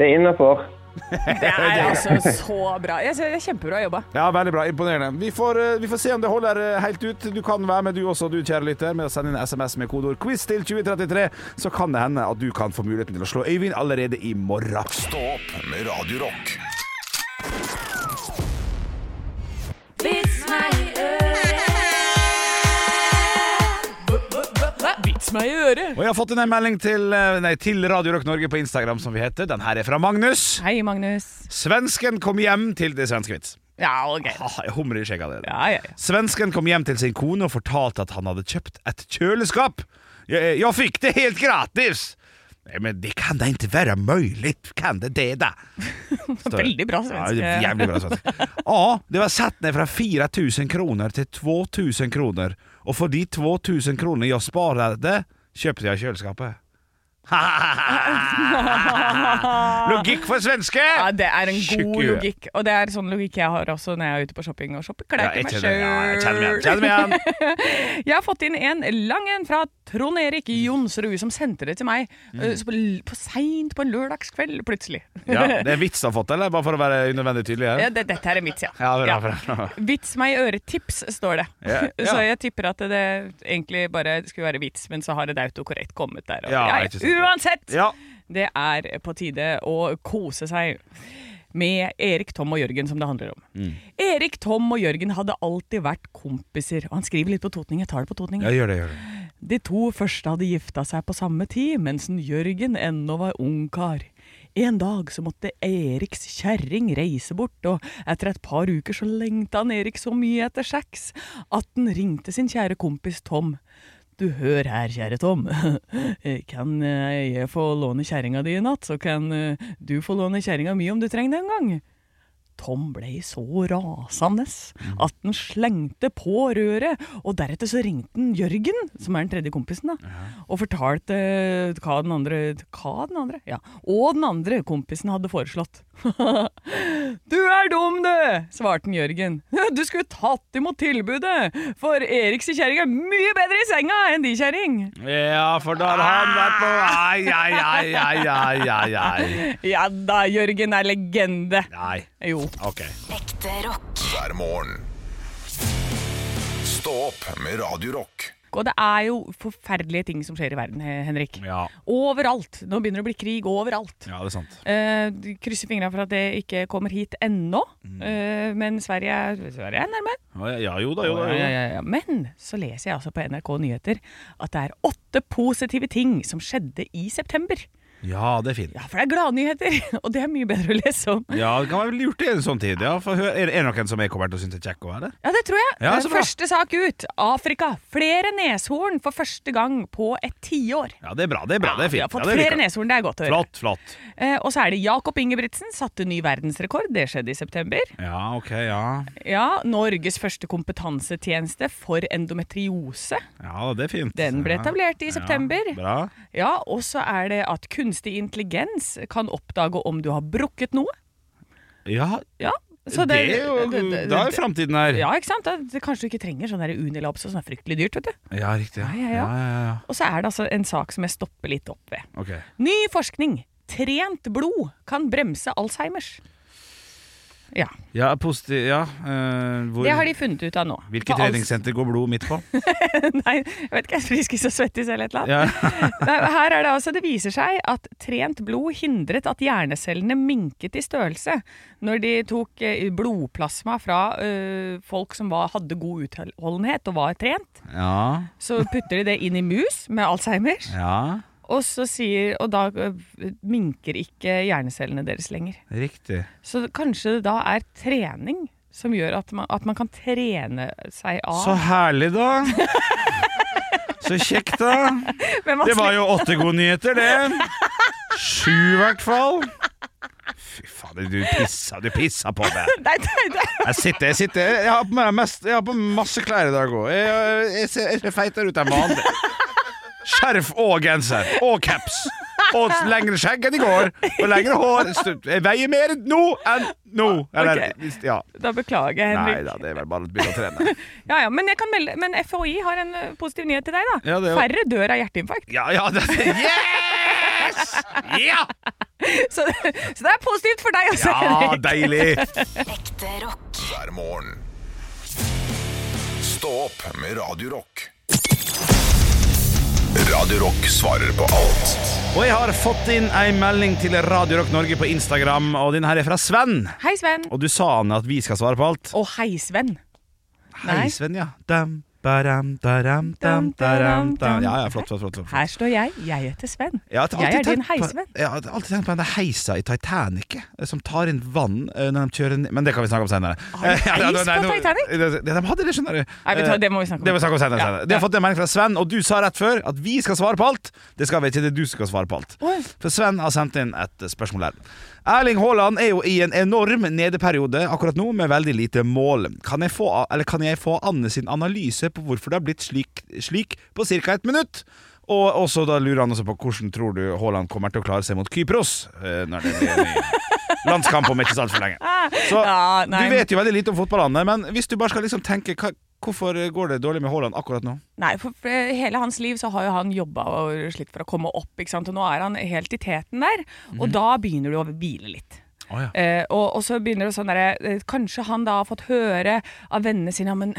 [SPEAKER 8] Det er innafor.
[SPEAKER 2] Det er altså så bra. Jeg ser, det er kjempebra jobba.
[SPEAKER 3] Ja, veldig bra. Imponerende. Vi får, eh, vi får se om det holder eh, helt ut. Du kan være med du også, du kjære lytter, med å sende inn SMS med kodeord 'quiz' til 2033. Så kan det hende at du kan få muligheten til å slå Øyvind allerede i morgen.
[SPEAKER 1] Stå opp med Radio Rock.
[SPEAKER 4] Vits meg i øret.
[SPEAKER 2] Vits meg i øret.
[SPEAKER 3] Og jeg har fått inn en melding til, eh, nei, til Radio Rock Norge på Instagram, som vi heter. Den her er fra Magnus.
[SPEAKER 2] Hei, Magnus.
[SPEAKER 3] Svensken kom hjem til Det svenske vits.
[SPEAKER 2] Ja, ok.
[SPEAKER 3] Ah, jeg humrer i skjegget av det.
[SPEAKER 2] Ja, ja, ja.
[SPEAKER 3] Svensken kom hjem til sin kone og fortalte at han hadde kjøpt et kjøleskap. Jeg, jeg fikk det helt gratis! «Nei, Men det kan da ikke være mulig, kan det det,
[SPEAKER 2] [LAUGHS]
[SPEAKER 3] da? Står det.
[SPEAKER 2] Veldig bra svensk.
[SPEAKER 3] Ja, det er jævlig bra
[SPEAKER 2] [LAUGHS]
[SPEAKER 3] svensk. Ja, det var satt ned fra 4000 kroner til 2000 kroner, og for de 2000 kronene jeg sparte, kjøpte jeg kjøleskapet.
[SPEAKER 2] [LAUGHS]
[SPEAKER 3] Logikk for svenske!
[SPEAKER 2] Ja, det er en
[SPEAKER 3] Tjukk
[SPEAKER 2] god
[SPEAKER 3] i huet.
[SPEAKER 2] logikk. Og det er sånn logikk jeg har også når jeg er ute på shopping og shopper klær
[SPEAKER 3] Ja,
[SPEAKER 2] til meg
[SPEAKER 3] jeg kjenner- ja, jeg kjenner meg igjen.
[SPEAKER 2] sjøl. [LAUGHS]
[SPEAKER 3] Kjenner meg igjen.
[SPEAKER 2] Jeg har fått inn en lang en fra Trond Erik Jonsrud som sendte det til meg
[SPEAKER 3] Mm.
[SPEAKER 2] eh, så på, l- på seint på en lørdagskveld, plutselig.
[SPEAKER 3] Ja, det er vits jeg har fått, eller? Bare for å være unødvendig tydelig her.
[SPEAKER 2] Ja, det, dette her er mitt, ja.
[SPEAKER 3] Ja, bra,
[SPEAKER 2] Ja.
[SPEAKER 3] bra, bra.
[SPEAKER 2] Vits meg i øret-tips, står det.
[SPEAKER 3] Ja, ja.
[SPEAKER 2] Så jeg tipper at det egentlig bare skulle være vits, men så har et autokorrekt kommet der. og-
[SPEAKER 3] Ja,
[SPEAKER 2] Ja, ja.
[SPEAKER 3] ikke sant.
[SPEAKER 2] Uansett!
[SPEAKER 3] Ja.
[SPEAKER 2] Det er på tide å kose seg med Erik, Tom og Jørgen, som det handler om.
[SPEAKER 3] Mm.
[SPEAKER 2] Erik, Tom og Jørgen hadde alltid vært kompiser. Og han skriver litt på totning. Jeg tar det på totning.
[SPEAKER 3] ja, gjør det, gjør det.
[SPEAKER 2] De to første hadde gifta seg på samme tid, mens en Jørgen ennå var ungkar. En dag så måtte Eriks kjerring reise bort, og etter et par uker så lengta han Erik så mye etter sex at han ringte sin kjære kompis Tom. Du, hør her, kjære Tom. [LAUGHS] Kan eh, jeg få låne kjerringa di i natt, så kan eh, du få låne kjerringa mi om du trenger det en gang? Tom ble så rasende at han slengte på røret, og deretter så ringte han Jørgen, som er den tredje kompisen, da, og fortalte hva den andre Hva den andre? Ja. Og den andre kompisen hadde foreslått. [LAUGHS] du er dum, du! svarte han Jørgen. [LAUGHS] Du skulle tatt imot tilbudet, for Eriks kjerring er mye bedre i senga enn de kjerring.
[SPEAKER 3] Ja, for da har han vært på Ai, ai, ai, ai, ai, ai, ai.
[SPEAKER 2] Ja da, Jørgen er legende.
[SPEAKER 3] Nei.
[SPEAKER 2] Jo.
[SPEAKER 3] OK.
[SPEAKER 4] Ekte rock.
[SPEAKER 1] hver morgen. Stå opp med Radio Rock.
[SPEAKER 2] Og det er jo forferdelige ting som skjer i verden, Hen- Henrik.
[SPEAKER 3] Ja.
[SPEAKER 2] Overalt. Nå begynner det å bli krig overalt.
[SPEAKER 3] Ja, det er sant.
[SPEAKER 2] Eh, du krysser fingrene for at det ikke kommer hit ennå,
[SPEAKER 3] Mm.
[SPEAKER 2] eh, men Sverige, er- Sverige er nærme.
[SPEAKER 3] Ja, jo da, jo
[SPEAKER 2] Ja,
[SPEAKER 3] da. Jo.
[SPEAKER 2] ja,
[SPEAKER 3] da.
[SPEAKER 2] ja, ja. Men så leser jeg altså på NRK Nyheter at det er åtte positive ting som skjedde i september.
[SPEAKER 3] Ja, det er fint.
[SPEAKER 2] Ja, for det er gladnyheter, [LAUGHS] og det er mye bedre å lese om.
[SPEAKER 3] Ja, det kan være lurt i en sånn tid. Ja, for hør, er det er det noen som jeg kommer til å synes er kjekk å være?
[SPEAKER 2] Ja, det tror jeg.
[SPEAKER 3] Ja,
[SPEAKER 2] Eh,
[SPEAKER 3] så bra.
[SPEAKER 2] første sak ut. Afrika. Flere neshorn for første gang på et tiår.
[SPEAKER 3] Ja, det er bra, det er bra, det er
[SPEAKER 2] vi har
[SPEAKER 3] fint.
[SPEAKER 2] fått
[SPEAKER 3] Ja, det liker
[SPEAKER 2] flere
[SPEAKER 3] jeg.
[SPEAKER 2] neshorn, det er godt å høre.
[SPEAKER 3] Flott, flott.
[SPEAKER 2] Eh, og så er det Jakob Ingebrigtsen satte ny verdensrekord. Det skjedde i september.
[SPEAKER 3] Ja, ok, ja.
[SPEAKER 2] Ja, Norges første kompetansetjeneste for endometriose.
[SPEAKER 3] Ja, det er fint.
[SPEAKER 2] Den ble
[SPEAKER 3] Ja.
[SPEAKER 2] etablert i
[SPEAKER 3] Ja,
[SPEAKER 2] september.
[SPEAKER 3] Bra.
[SPEAKER 2] Ja, og så er det at kunstig intelligens kan oppdage om du har brukket noe.
[SPEAKER 3] Ja,
[SPEAKER 2] Ja, så
[SPEAKER 3] det, er jo
[SPEAKER 2] det- det-
[SPEAKER 3] Da er fremtiden her.
[SPEAKER 2] Ja, ikke sant? Da, det, kanskje du ikke trenger sånn der Unilabs og sånn er fryktelig dyrt, vet du.
[SPEAKER 3] Ja, riktig.
[SPEAKER 2] Ja, ja, ja.
[SPEAKER 3] ja, ja.
[SPEAKER 2] Og så er det altså en sak som jeg stopper litt opp ved.
[SPEAKER 3] Ok.
[SPEAKER 2] Ny forskning. Trent blod kan bremse Alzheimers. Ja,
[SPEAKER 3] Ja, positiv Ja. eh, hvor,
[SPEAKER 2] det har de funnet ut av nå.
[SPEAKER 3] Hvilket
[SPEAKER 2] For Alz-
[SPEAKER 3] treningssenter går blod midt på?
[SPEAKER 2] [LAUGHS] Nei, jeg vet ikke, friskis og svettis eller et eller annet.
[SPEAKER 3] Ja.
[SPEAKER 2] Nei, men Her er det altså, det viser seg at trent blod hindret at hjernecellene minket i størrelse når de tok eh, blodplasma fra eh, folk som var, hadde god utholdenhet og var trent.
[SPEAKER 3] ja.
[SPEAKER 2] Så putter de det inn i mus med Alzheimers,
[SPEAKER 3] Ja,
[SPEAKER 2] og, så sier, og da eh, minker ikke hjernecellene deres lenger.
[SPEAKER 3] riktig.
[SPEAKER 2] Så kanskje det da er trening som gjør at man, at man kan trene seg av.
[SPEAKER 3] Så herlig, da. Så kjekt, da.
[SPEAKER 2] Men man
[SPEAKER 3] Det var jo åtte gode nyheter, det. Sju, i hvert fall. Fy fader, du pissa, du pissa på meg.
[SPEAKER 2] slipper- Nei, nei, nei.
[SPEAKER 3] Jeg sitter, jeg sitter Jeg har på meg mest, jeg har på meg masse klær i dag òg. Jeg, jeg, ser- jeg ser feitere ut enn vanlig. Skjerf og genser og caps. Og lengre skjegg enn i går. Og lengre hår. Jeg veier mer nå enn nå. Eller,
[SPEAKER 2] Ok.
[SPEAKER 3] hvis- ja.
[SPEAKER 2] Da beklager jeg, Henrik.
[SPEAKER 3] Nei da, det er vel bare å begynne å trene.
[SPEAKER 2] Ja, ja, men, jeg kan melde, men FHI har en ø, positiv nyhet til deg, da.
[SPEAKER 3] Ja, det er jo-
[SPEAKER 2] Færre dør av hjerteinfarkt. [LAUGHS]
[SPEAKER 3] Ja, ja, det, yes! Ja!
[SPEAKER 2] Så, så det er positivt for deg også,
[SPEAKER 3] ja,
[SPEAKER 2] Henrik.
[SPEAKER 3] Ah, deilig!
[SPEAKER 4] Ekte rock.
[SPEAKER 1] hver morgen. Stå opp med Radio Rock. Radio Rock svarer på alt.
[SPEAKER 3] Og jeg har fått inn ei melding til Radio Rock Norge på Instagram, og den her er fra Sven.
[SPEAKER 2] Hei, Sven.
[SPEAKER 3] Og du sa han at vi skal svare på alt.
[SPEAKER 2] Og hei, Sven.
[SPEAKER 3] Hei, Sven, ja. Dam, baram, daram, dam, daram, dam. Ja, ja, flott, flott, flott, flott.
[SPEAKER 2] Her står jeg. Jeg heter Sven.
[SPEAKER 3] Jeg, har alltid
[SPEAKER 2] jeg er din
[SPEAKER 3] tenkt på-
[SPEAKER 2] heisvenn.
[SPEAKER 3] Jeg har alltid tenkt på den der heisa i Titanic eh, som tar inn vann eh, når de kjører ned Men det kan vi snakke om senere.
[SPEAKER 2] Har de
[SPEAKER 3] Eh, [LAUGHS] ja,
[SPEAKER 2] heis
[SPEAKER 3] nei,
[SPEAKER 2] på
[SPEAKER 3] nå-
[SPEAKER 2] Titanic?
[SPEAKER 3] det- det- De hadde det, skjønner du.
[SPEAKER 2] Nei, vet du hva,
[SPEAKER 3] Eh,
[SPEAKER 2] det må vi snakke om.
[SPEAKER 3] Det må vi snakke om senere.
[SPEAKER 2] Ja,
[SPEAKER 3] senere. De har
[SPEAKER 2] ja.
[SPEAKER 3] fått en melding fra Sven, og du sa rett før at vi skal svare på alt. Det skal vi ikke, det er du som skal svare på alt.
[SPEAKER 2] Oi.
[SPEAKER 3] For Sven har sendt inn et eh, spørsmål her. Erling Haaland er jo i en enorm nedeperiode akkurat nå, med veldig lite mål. Kan jeg få, eller kan jeg få Anne sin analyse på hvorfor det har blitt slik, slik på ca. ett minutt? Og også da lurer han også på hvordan tror du Haaland kommer til å klare seg mot Kypros eh, når det blir en ny landskamp om ikke så altfor lenge.
[SPEAKER 2] [LAUGHS]
[SPEAKER 3] Så
[SPEAKER 2] Ja, nei,
[SPEAKER 3] du vet jo veldig lite om fotball, Anne, men hvis du bare skal liksom tenke hva, Hvorfor går det dårlig med Haaland akkurat nå?
[SPEAKER 2] Nei, for for eh, hele hans liv så har jo han jobba og slitt for å komme opp, ikke sant? og nå er han helt i teten der. Og
[SPEAKER 3] Mhm.
[SPEAKER 2] da begynner du å hvile litt.
[SPEAKER 3] Å, ja.
[SPEAKER 2] eh, og, og så begynner det sånn derre eh, Kanskje han da har fått høre av vennene sine ja, men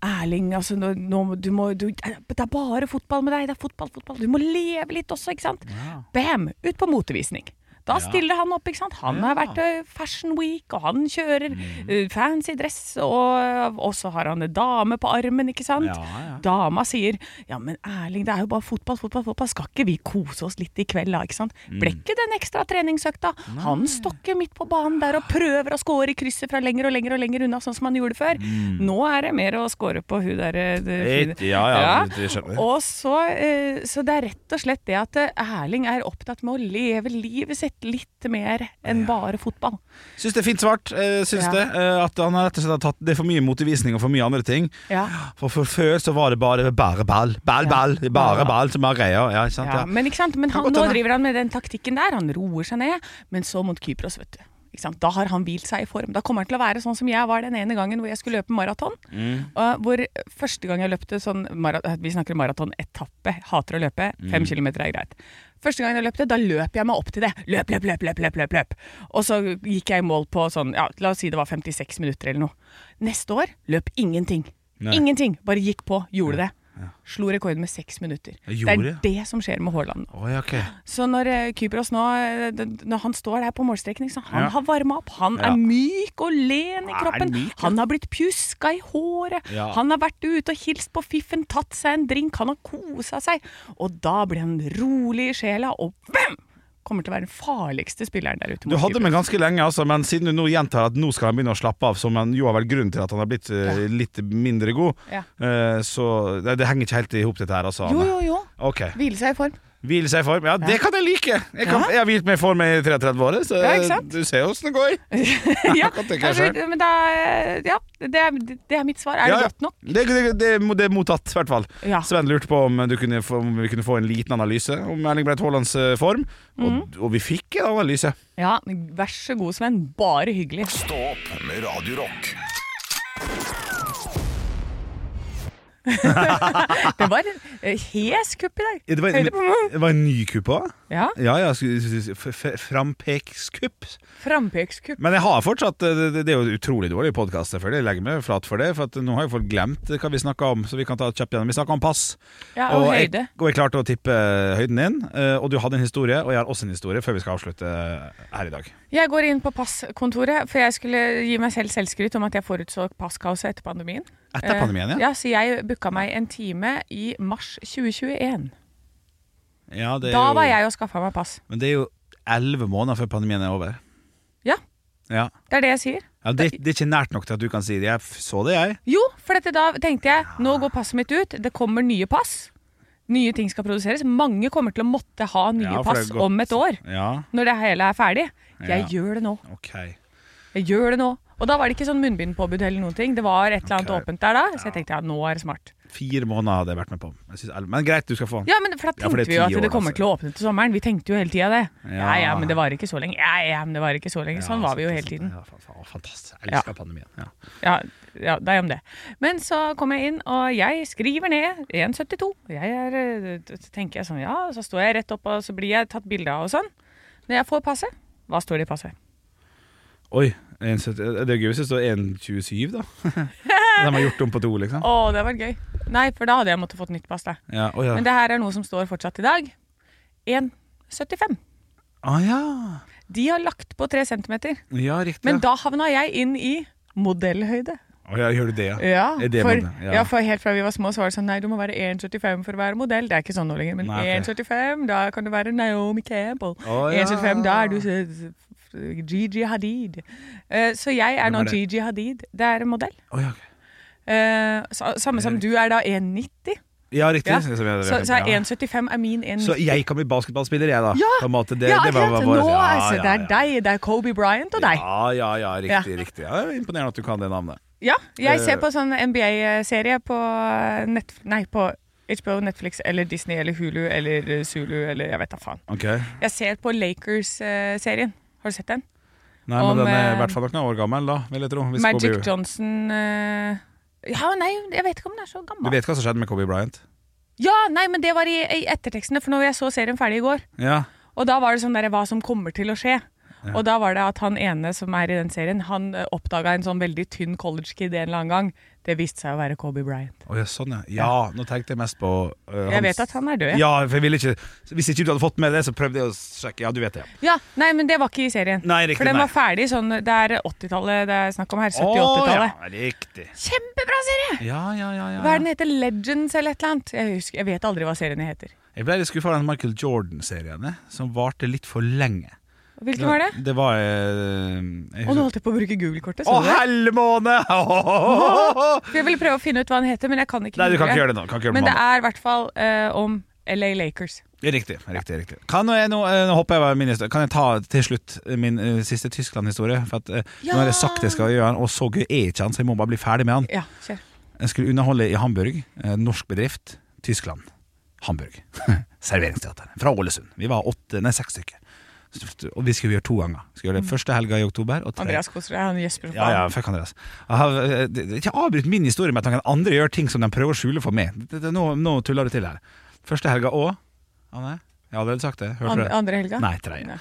[SPEAKER 2] Erling, altså nå, nå, må- du må du, Det er bare fotball med deg. Det er fotball, fotball. Du må leve litt også, ikke sant? Bam! Ut på motevisning. Da stiller han opp, ikke sant. Han har vært eh, Fashion Week, og han kjører
[SPEAKER 3] Mm.
[SPEAKER 2] eh, fancy dress, og, og så har han en dame på armen, ikke sant.
[SPEAKER 3] Ja, ja.
[SPEAKER 2] Dama sier 'ja, men Erling, det er jo bare fotball, fotball, fotball'. Skal ikke vi kose oss litt i kveld, da? ikke sant?
[SPEAKER 3] Mm.
[SPEAKER 2] Ble ikke den ekstra treningsøkta. Han stokker midt på banen der og prøver å score i krysset fra lenger og lenger og lenger unna, sånn som han gjorde før. Nå er det mer å score på hun der eh, det-
[SPEAKER 3] Riktig, Mm. ja, ja, det skjønner jeg.
[SPEAKER 2] Og så, eh, så det er rett og slett det at eh, Erling er opptatt med å leve livet sitt litt mer enn bare fotball.
[SPEAKER 3] Syns det er fint svart. eh, Syns
[SPEAKER 2] Ja.
[SPEAKER 3] det eh, At han har rett og slett har tatt det er for mye motevisning og for mye andre ting.
[SPEAKER 2] Ja.
[SPEAKER 3] For, for før så var det bare bare ball. Ball, ball, bare ball som var greia. Ja, ikke sant?
[SPEAKER 2] Ja,
[SPEAKER 3] Ja.
[SPEAKER 2] men ikke sant? Men han,
[SPEAKER 3] godt
[SPEAKER 2] nå
[SPEAKER 3] hende.
[SPEAKER 2] driver han med den taktikken der. Han roer seg ned. Men så mot Kypros, vet du. Ikke sant? Da har han hvilt seg i form. Da kommer han til å være sånn som jeg var den ene gangen hvor jeg skulle løpe maraton.
[SPEAKER 3] Mm.
[SPEAKER 2] Og Hvor første gang jeg løpte sånn mara- Vi snakker maratonetappe. Hater å løpe.
[SPEAKER 3] Mm.
[SPEAKER 2] Fem kilometer er greit. Første gang jeg løpte, da løp jeg meg opp til det. Løp, løp, løp, løp, løp, løp, løp. Og så gikk jeg i mål på sånn, ja, la oss si det var 56 minutter eller noe. Neste år løp ingenting.
[SPEAKER 3] Nei.
[SPEAKER 2] Ingenting. Bare gikk på, gjorde det. Slo rekorden med seks minutter.
[SPEAKER 3] Jeg
[SPEAKER 2] det
[SPEAKER 3] gjorde
[SPEAKER 2] er
[SPEAKER 3] det, ja.
[SPEAKER 2] det som skjer med Haaland nå.
[SPEAKER 3] Oi, ok.
[SPEAKER 2] Så når eh, Kypros nå eh, d- d- Når han står der på målstreken ikke sant? Han
[SPEAKER 3] Ja.
[SPEAKER 2] har varma opp, han
[SPEAKER 3] Ja.
[SPEAKER 2] er myk og len i
[SPEAKER 3] Er
[SPEAKER 2] kroppen.
[SPEAKER 3] myk, ja.
[SPEAKER 2] Han har blitt pjuska i håret.
[SPEAKER 3] Ja.
[SPEAKER 2] Han har vært ute og hilst på fiffen, tatt seg en drink, han har kosa seg. Og da blir han rolig i sjela, og bam! Kommer til å være den farligste spilleren der ute.
[SPEAKER 3] Du
[SPEAKER 2] mot
[SPEAKER 3] hadde
[SPEAKER 2] Kypros.
[SPEAKER 3] meg ganske lenge, altså, men siden du nå gjentar at nå skal han begynne å slappe av, som han jo har vel grunnen til at han har blitt eh, litt mindre god,
[SPEAKER 2] Ja.
[SPEAKER 3] eh, så det, det henger ikke helt i hop, dette her, altså.
[SPEAKER 2] Jo,
[SPEAKER 3] Anne.
[SPEAKER 2] jo, jo.
[SPEAKER 3] Ok.
[SPEAKER 2] Hvile seg i [LAUGHS] form.
[SPEAKER 3] Hvile seg i form. Ja, det kan jeg like! Jeg, kan,
[SPEAKER 2] Ja.
[SPEAKER 3] jeg har hvilt meg i form i 33 år, så
[SPEAKER 2] Ja, ikke sant?
[SPEAKER 3] du ser jo åssen det går.
[SPEAKER 2] ja,
[SPEAKER 3] kan tenke meg
[SPEAKER 2] kanskje-
[SPEAKER 3] selv.
[SPEAKER 2] men da, eh, ja, det, er, det er mitt svar. Er
[SPEAKER 3] Ja, ja.
[SPEAKER 2] det godt nok?
[SPEAKER 3] Det, det, det, er mo- det er mottatt, i hvert fall.
[SPEAKER 2] Ja.
[SPEAKER 3] Sven lurte på om, du kunne, få- om vi kunne få en liten analyse om Erling Breit Haalands eh, form,
[SPEAKER 2] Mhm.
[SPEAKER 3] og, og vi fikk en analyse.
[SPEAKER 2] Ja, men vær så god, Sven. Bare hyggelig.
[SPEAKER 1] Stå opp med Radio Rock.
[SPEAKER 2] Det var en eh, hes kupp i dag.
[SPEAKER 3] Det var,
[SPEAKER 2] Høyde på meg.
[SPEAKER 3] en ny kupp òg?
[SPEAKER 2] Ja,
[SPEAKER 3] Ja, ja. Frampekeskupp.
[SPEAKER 2] frampekeskupp.
[SPEAKER 3] Men jeg har fortsatt eh, Det, det- det er jo utrolig dårlig podkast, selvfølgelig. Jeg legger meg flat for det. For at nå har jo folk glemt eh, hva vi snakka om, så vi kan ta et kjapt gjennom. Vi snakka om pass.
[SPEAKER 2] Ja, og, høyde.
[SPEAKER 3] Jeg, og jeg klarte å tippe høyden din. eh, Og du hadde en historie, og jeg har også en historie, før vi skal avslutte eh, her i dag.
[SPEAKER 2] Jeg går inn på passkontoret, for jeg skulle gi meg selv selvskryt om at jeg forutså passkaoset etter pandemien.
[SPEAKER 3] Etter
[SPEAKER 2] Eh,
[SPEAKER 3] pandemien, ja.
[SPEAKER 2] Ja, Så jeg booka meg en time i mars 2021.
[SPEAKER 3] ja det er
[SPEAKER 2] Da
[SPEAKER 3] jo-
[SPEAKER 2] var jeg og skaffa meg pass.
[SPEAKER 3] Men det er jo elleve måneder før pandemien er over.
[SPEAKER 2] Ja,
[SPEAKER 3] Ja,
[SPEAKER 2] det er det jeg sier.
[SPEAKER 3] ja det, det er ikke nært nok til at du kan si det. Jeg f- så det, jeg.
[SPEAKER 2] Jo, for dette da tenkte jeg nå går passet mitt ut, det kommer nye pass. Nye ting skal produseres. Mange kommer til å måtte ha nye
[SPEAKER 3] Ja, for det
[SPEAKER 2] pass
[SPEAKER 3] er godt.
[SPEAKER 2] om et år.
[SPEAKER 3] Ja,
[SPEAKER 2] Når det hele er ferdig. Jeg
[SPEAKER 3] Ja.
[SPEAKER 2] gjør det nå.
[SPEAKER 3] ok.
[SPEAKER 2] Jeg gjør det nå. Og da var det ikke sånn munnbindpåbud eller noen ting. Det var et eller annet
[SPEAKER 3] Ok.
[SPEAKER 2] åpent der da, så jeg tenkte ja, nå er det smart.
[SPEAKER 3] Fire måneder hadde jeg vært med på. Jeg synes, elleve- men greit, du skal få den.
[SPEAKER 2] Ja, men for da
[SPEAKER 3] Ja, for
[SPEAKER 2] tenkte
[SPEAKER 3] det er
[SPEAKER 2] vi jo
[SPEAKER 3] ti
[SPEAKER 2] at
[SPEAKER 3] år,
[SPEAKER 2] det kommer
[SPEAKER 3] altså.
[SPEAKER 2] til å åpne til sommeren. Vi tenkte jo hele tida det. Ja, ja,
[SPEAKER 3] Ja.
[SPEAKER 2] men det varer ikke så lenge. Ja, ja, men det varer ikke så lenge. Sånn var vi jo hele tiden.
[SPEAKER 3] Ja, fa- fa- fantastisk. Jeg elsker pandemien. Ja.
[SPEAKER 2] Ja, ja, det er om det. Men så kom jeg inn, og jeg skriver ned 1,72. Jeg er, eh, så tenker jeg sånn, ja, så står jeg rett opp, og så blir jeg tatt bilde av og sånn. Når jeg får passet, hva står det i passet?
[SPEAKER 3] Oi, 1,70 det er gøy hvis det står 1,27,
[SPEAKER 2] [LAUGHS]
[SPEAKER 3] da. De har gjort om på to, liksom.
[SPEAKER 2] Å, det var gøy. Nei, for da hadde jeg måttet fått nytt pass, da.
[SPEAKER 3] Ja, å ja.
[SPEAKER 2] Men det her er noe som står fortsatt i dag. 1,75.
[SPEAKER 3] Å ja.
[SPEAKER 2] De har lagt på 3 cm.
[SPEAKER 3] ja, riktig.
[SPEAKER 2] Men
[SPEAKER 3] ja.
[SPEAKER 2] da havna jeg inn i modellhøyde.
[SPEAKER 3] Å ja, gjør du det, ja? Er det
[SPEAKER 2] for,
[SPEAKER 3] modell?
[SPEAKER 2] ja. for helt fra vi var små, så var det sånn nei, du må være 1,75 for å være modell. Det er ikke sånn nå lenger, men
[SPEAKER 3] Nei, ok.
[SPEAKER 2] 1,75, da kan du være Naomi Campbell.
[SPEAKER 3] Å, ja.
[SPEAKER 2] 1,75, da er du så- Gigi Hadid. Eh, Så jeg er nå
[SPEAKER 3] Hvem er det?
[SPEAKER 2] Gigi Hadid. Det er en modell.
[SPEAKER 3] Å, ja, ok.
[SPEAKER 2] Eh, sa- Samme som du er da 1,90.
[SPEAKER 3] ja riktig.
[SPEAKER 2] Ja.
[SPEAKER 3] Som jeg-
[SPEAKER 2] Så, så er
[SPEAKER 3] ja.
[SPEAKER 2] 1,75 er min 1,90.
[SPEAKER 3] Så jeg kan bli basketballspiller, jeg, da.
[SPEAKER 2] Ja,
[SPEAKER 3] på en måte. Det,
[SPEAKER 2] ja,
[SPEAKER 3] det var,
[SPEAKER 2] akkurat.
[SPEAKER 3] var-
[SPEAKER 2] Nå,
[SPEAKER 3] ja,
[SPEAKER 2] altså,
[SPEAKER 3] ja,
[SPEAKER 2] det er
[SPEAKER 3] ja.
[SPEAKER 2] deg. Det er Kobe Bryant og deg.
[SPEAKER 3] Ja, ja, ja, riktig.
[SPEAKER 2] Ja.
[SPEAKER 3] riktig ja, det er Imponerende at du kan det navnet.
[SPEAKER 2] Ja, jeg
[SPEAKER 3] Eh.
[SPEAKER 2] ser på sånn NBA-serie på, Netf nei, på HBO, Netflix eller Disney eller Hulu eller eh, Zulu eller jeg vet da faen.
[SPEAKER 3] Ok
[SPEAKER 2] Jeg ser på Lakers-serien. Har du sett den?
[SPEAKER 3] Nei,
[SPEAKER 2] Om,
[SPEAKER 3] men Den er
[SPEAKER 2] eh,
[SPEAKER 3] i hvert fall nok noen år gammel, da, vil jeg tro. hvis Kobe-
[SPEAKER 2] Magic Johnson eh, Ja, nei, jeg vet ikke om den er så gammel.
[SPEAKER 3] Du vet hva som skjedde med Kobe Bryant?
[SPEAKER 2] Ja, nei, men det var i, i ettertekstene, for når jeg så serien ferdig i går,
[SPEAKER 3] Ja.
[SPEAKER 2] og da var det sånn der hva som kommer til å skje. Og da var det at han ene som er i den serien, han eh, oppdaga en sånn veldig tynn college-kid en eller annen gang. Det viste seg å være Kobe Bryant.
[SPEAKER 3] Å, ja, sånn, ja. ja. Nå tenkte jeg mest på øh,
[SPEAKER 2] Jeg vet at han er død, jeg.
[SPEAKER 3] Ja, for jeg ville ikke Hvis ikke du hadde fått med det, så prøvde jeg å sjekke. Ja, du vet det. ja.
[SPEAKER 2] Ja, nei, men det var ikke i serien.
[SPEAKER 3] Nei, riktig,
[SPEAKER 2] for den
[SPEAKER 3] nei.
[SPEAKER 2] var ferdig sånn Det er 80-tallet det er snakk om her.
[SPEAKER 3] Å,
[SPEAKER 2] 70-80-tallet.
[SPEAKER 3] ja, riktig.
[SPEAKER 2] Kjempebra serie!
[SPEAKER 3] Ja, ja, ja, ja,
[SPEAKER 2] Hva er
[SPEAKER 3] ja.
[SPEAKER 2] den heter? Legends eller et eller annet? Jeg, husker, jeg vet aldri hva serien heter.
[SPEAKER 3] Jeg ble litt skuffa av den Michael Jordan-serien, eh, som varte litt for lenge.
[SPEAKER 2] Hvilken var det?
[SPEAKER 3] Det var øh, jeg
[SPEAKER 2] Og nå
[SPEAKER 3] husker-
[SPEAKER 2] holdt jeg på å bruke Google-kortet.
[SPEAKER 3] Å,
[SPEAKER 2] så du det?
[SPEAKER 3] helmåne! [LAUGHS]
[SPEAKER 2] For Jeg ville prøve å finne ut hva den heter, men jeg kan ikke.
[SPEAKER 3] Nei, du
[SPEAKER 2] google.
[SPEAKER 3] kan ikke gjøre det nå. Kan ikke gjøre det
[SPEAKER 2] Men
[SPEAKER 3] på
[SPEAKER 2] det er i hvert fall eh, om LA Lakers.
[SPEAKER 3] Riktig. riktig, riktig Kan jeg, nå, eh, nå hopper jeg over min historie. Kan jeg ta til slutt min eh, siste Tyskland-historie? For at, eh,
[SPEAKER 2] Ja.
[SPEAKER 3] Nå har jeg sagt jeg skal gjøre den, og så gøy er ikke han, så jeg må bare bli ferdig med han.
[SPEAKER 2] Ja, kjør.
[SPEAKER 3] Jeg skulle underholde i Hamburg. eh, Norsk bedrift. Tyskland. Hamburg. [LAUGHS] Serveringsteater. Fra Ålesund. Vi var åtte, nei, seks stykker. Så- Og vi skulle gjøre to ganger. Vi skulle gjøre det første helga i oktober. Og tre-
[SPEAKER 2] Andreas koser seg. Han gjesper. som
[SPEAKER 3] ja, ja,
[SPEAKER 2] faen.
[SPEAKER 3] fuck Andreas. Jeg har, eh, det- det- Ikke avbryt min historie med at noen andre gjør ting som de prøver å skjule for meg. Det, det, nå, nå tuller du til her. Første helga òg. Anne? Jeg har allerede sagt det. Hørte du
[SPEAKER 2] Andre,
[SPEAKER 3] det?
[SPEAKER 2] andre helga?
[SPEAKER 3] Nei, tredje.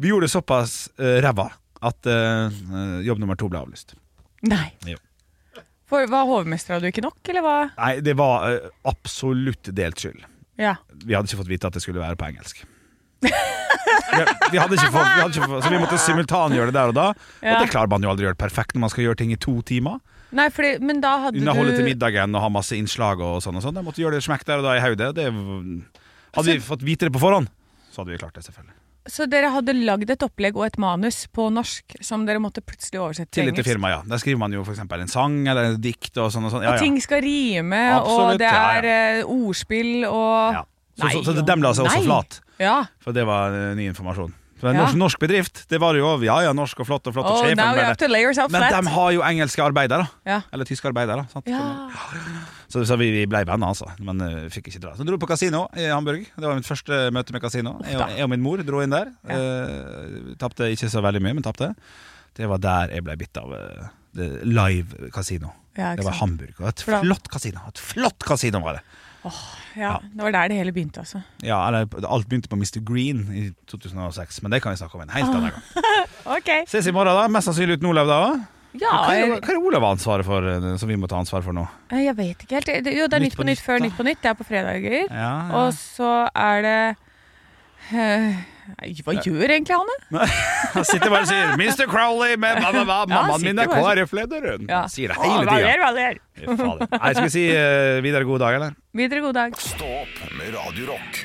[SPEAKER 3] Vi gjorde det såpass eh, ræva at eh, eh, jobb nummer to ble avlyst.
[SPEAKER 2] Nei.
[SPEAKER 3] Jo.
[SPEAKER 2] For Var hovmestra du ikke nok, eller hva?
[SPEAKER 3] Nei, det var eh, absolutt delt skyld.
[SPEAKER 2] Ja.
[SPEAKER 3] Vi hadde ikke fått vite at det skulle være på engelsk. Vi, vi hadde ikke fått, vi hadde ikke fått, så vi måtte simultangjøre det der og da.
[SPEAKER 2] Ja.
[SPEAKER 3] Og det klarer man jo aldri å gjøre perfekt når man skal gjøre ting i to timer.
[SPEAKER 2] Nei, fordi, men da hadde
[SPEAKER 3] Underholde til
[SPEAKER 2] du
[SPEAKER 3] middagen og ha masse innslag og sånn og sånn. Jeg måtte gjøre det smekk der og da i hodet. Det v- Hadde vi fått vite det på forhånd, så hadde vi klart det, selvfølgelig.
[SPEAKER 2] Så dere hadde lagd et opplegg og et manus på norsk som dere måtte plutselig oversette
[SPEAKER 3] Til
[SPEAKER 2] til
[SPEAKER 3] dette
[SPEAKER 2] engelsk?
[SPEAKER 3] firma, ja. Der skriver man jo for eksempel en sang eller et dikt og sånn og sånn. Ja,
[SPEAKER 2] Og
[SPEAKER 3] ja.
[SPEAKER 2] ting skal rime,
[SPEAKER 3] Absolutt,
[SPEAKER 2] og det
[SPEAKER 3] ja, ja.
[SPEAKER 2] er eh, ordspill og
[SPEAKER 3] ja. Så, så, så dem la seg
[SPEAKER 2] Nei.
[SPEAKER 3] også flat.
[SPEAKER 2] Ja.
[SPEAKER 3] For det var eh, ny informasjon. For det er
[SPEAKER 2] Ja.
[SPEAKER 3] norsk, norsk bedrift, det var det jo Ja ja, norsk og flott og flott. Og
[SPEAKER 2] Oh,
[SPEAKER 3] sjefen
[SPEAKER 2] now you
[SPEAKER 3] ble
[SPEAKER 2] have
[SPEAKER 3] det.
[SPEAKER 2] to lay yourself
[SPEAKER 3] Men
[SPEAKER 2] flat.
[SPEAKER 3] de har jo engelske arbeidere.
[SPEAKER 2] Ja.
[SPEAKER 3] Eller tyske arbeidere. Sant?
[SPEAKER 2] Ja.
[SPEAKER 3] Så, så vi, vi ble venner, altså. Men eh, fikk ikke dra. Så dro jeg på kasino i Hamburg. Det var mitt første møte med kasino. Jeg, og- jeg og min mor dro inn der. Ja. tapte ikke så veldig mye, men tapte. Det var der jeg ble bitt av eh, det live kasino.
[SPEAKER 2] Ja, ikke
[SPEAKER 3] det var
[SPEAKER 2] sant.
[SPEAKER 3] Hamburg. Og et
[SPEAKER 2] For da-
[SPEAKER 3] flott kasino. Et flott kasino var det.
[SPEAKER 2] ja. Det var der det hele begynte, altså.
[SPEAKER 3] Ja, eller, alt begynte på Mr. Green i 2006, men det kan vi snakke om en helt
[SPEAKER 2] Ah.
[SPEAKER 3] annen gang.
[SPEAKER 2] Ok.
[SPEAKER 3] Ses i morgen, da. Mest sannsynlig uten Olav, da òg.
[SPEAKER 2] Ja,
[SPEAKER 3] Hva er
[SPEAKER 2] jeg,
[SPEAKER 3] hva er det Olav har ansvaret for, eh, som vi må ta ansvar for nå?
[SPEAKER 2] jeg vet ikke helt. Det, jo, det er Nytt på Nytt før
[SPEAKER 3] da.
[SPEAKER 2] Nytt på Nytt. Det er på fredager.
[SPEAKER 3] Ja,
[SPEAKER 2] Og så er det eh, Nei, hva gjør egentlig Hanne?
[SPEAKER 3] Han sitter bare og sier 'Mr. Crowley, men hva, hva, hva,
[SPEAKER 2] Ja, han
[SPEAKER 3] mammaen min er
[SPEAKER 2] sitter bare
[SPEAKER 3] KrF-lederen'.
[SPEAKER 2] Ja.
[SPEAKER 3] Sier det
[SPEAKER 2] Å,
[SPEAKER 3] hele
[SPEAKER 2] hva
[SPEAKER 3] tida.
[SPEAKER 2] gjør, hva gjør?
[SPEAKER 3] Nei, skal vi si eh, videre god dag, eller?
[SPEAKER 2] Videre god dag.
[SPEAKER 1] Stå opp med Radio Rock.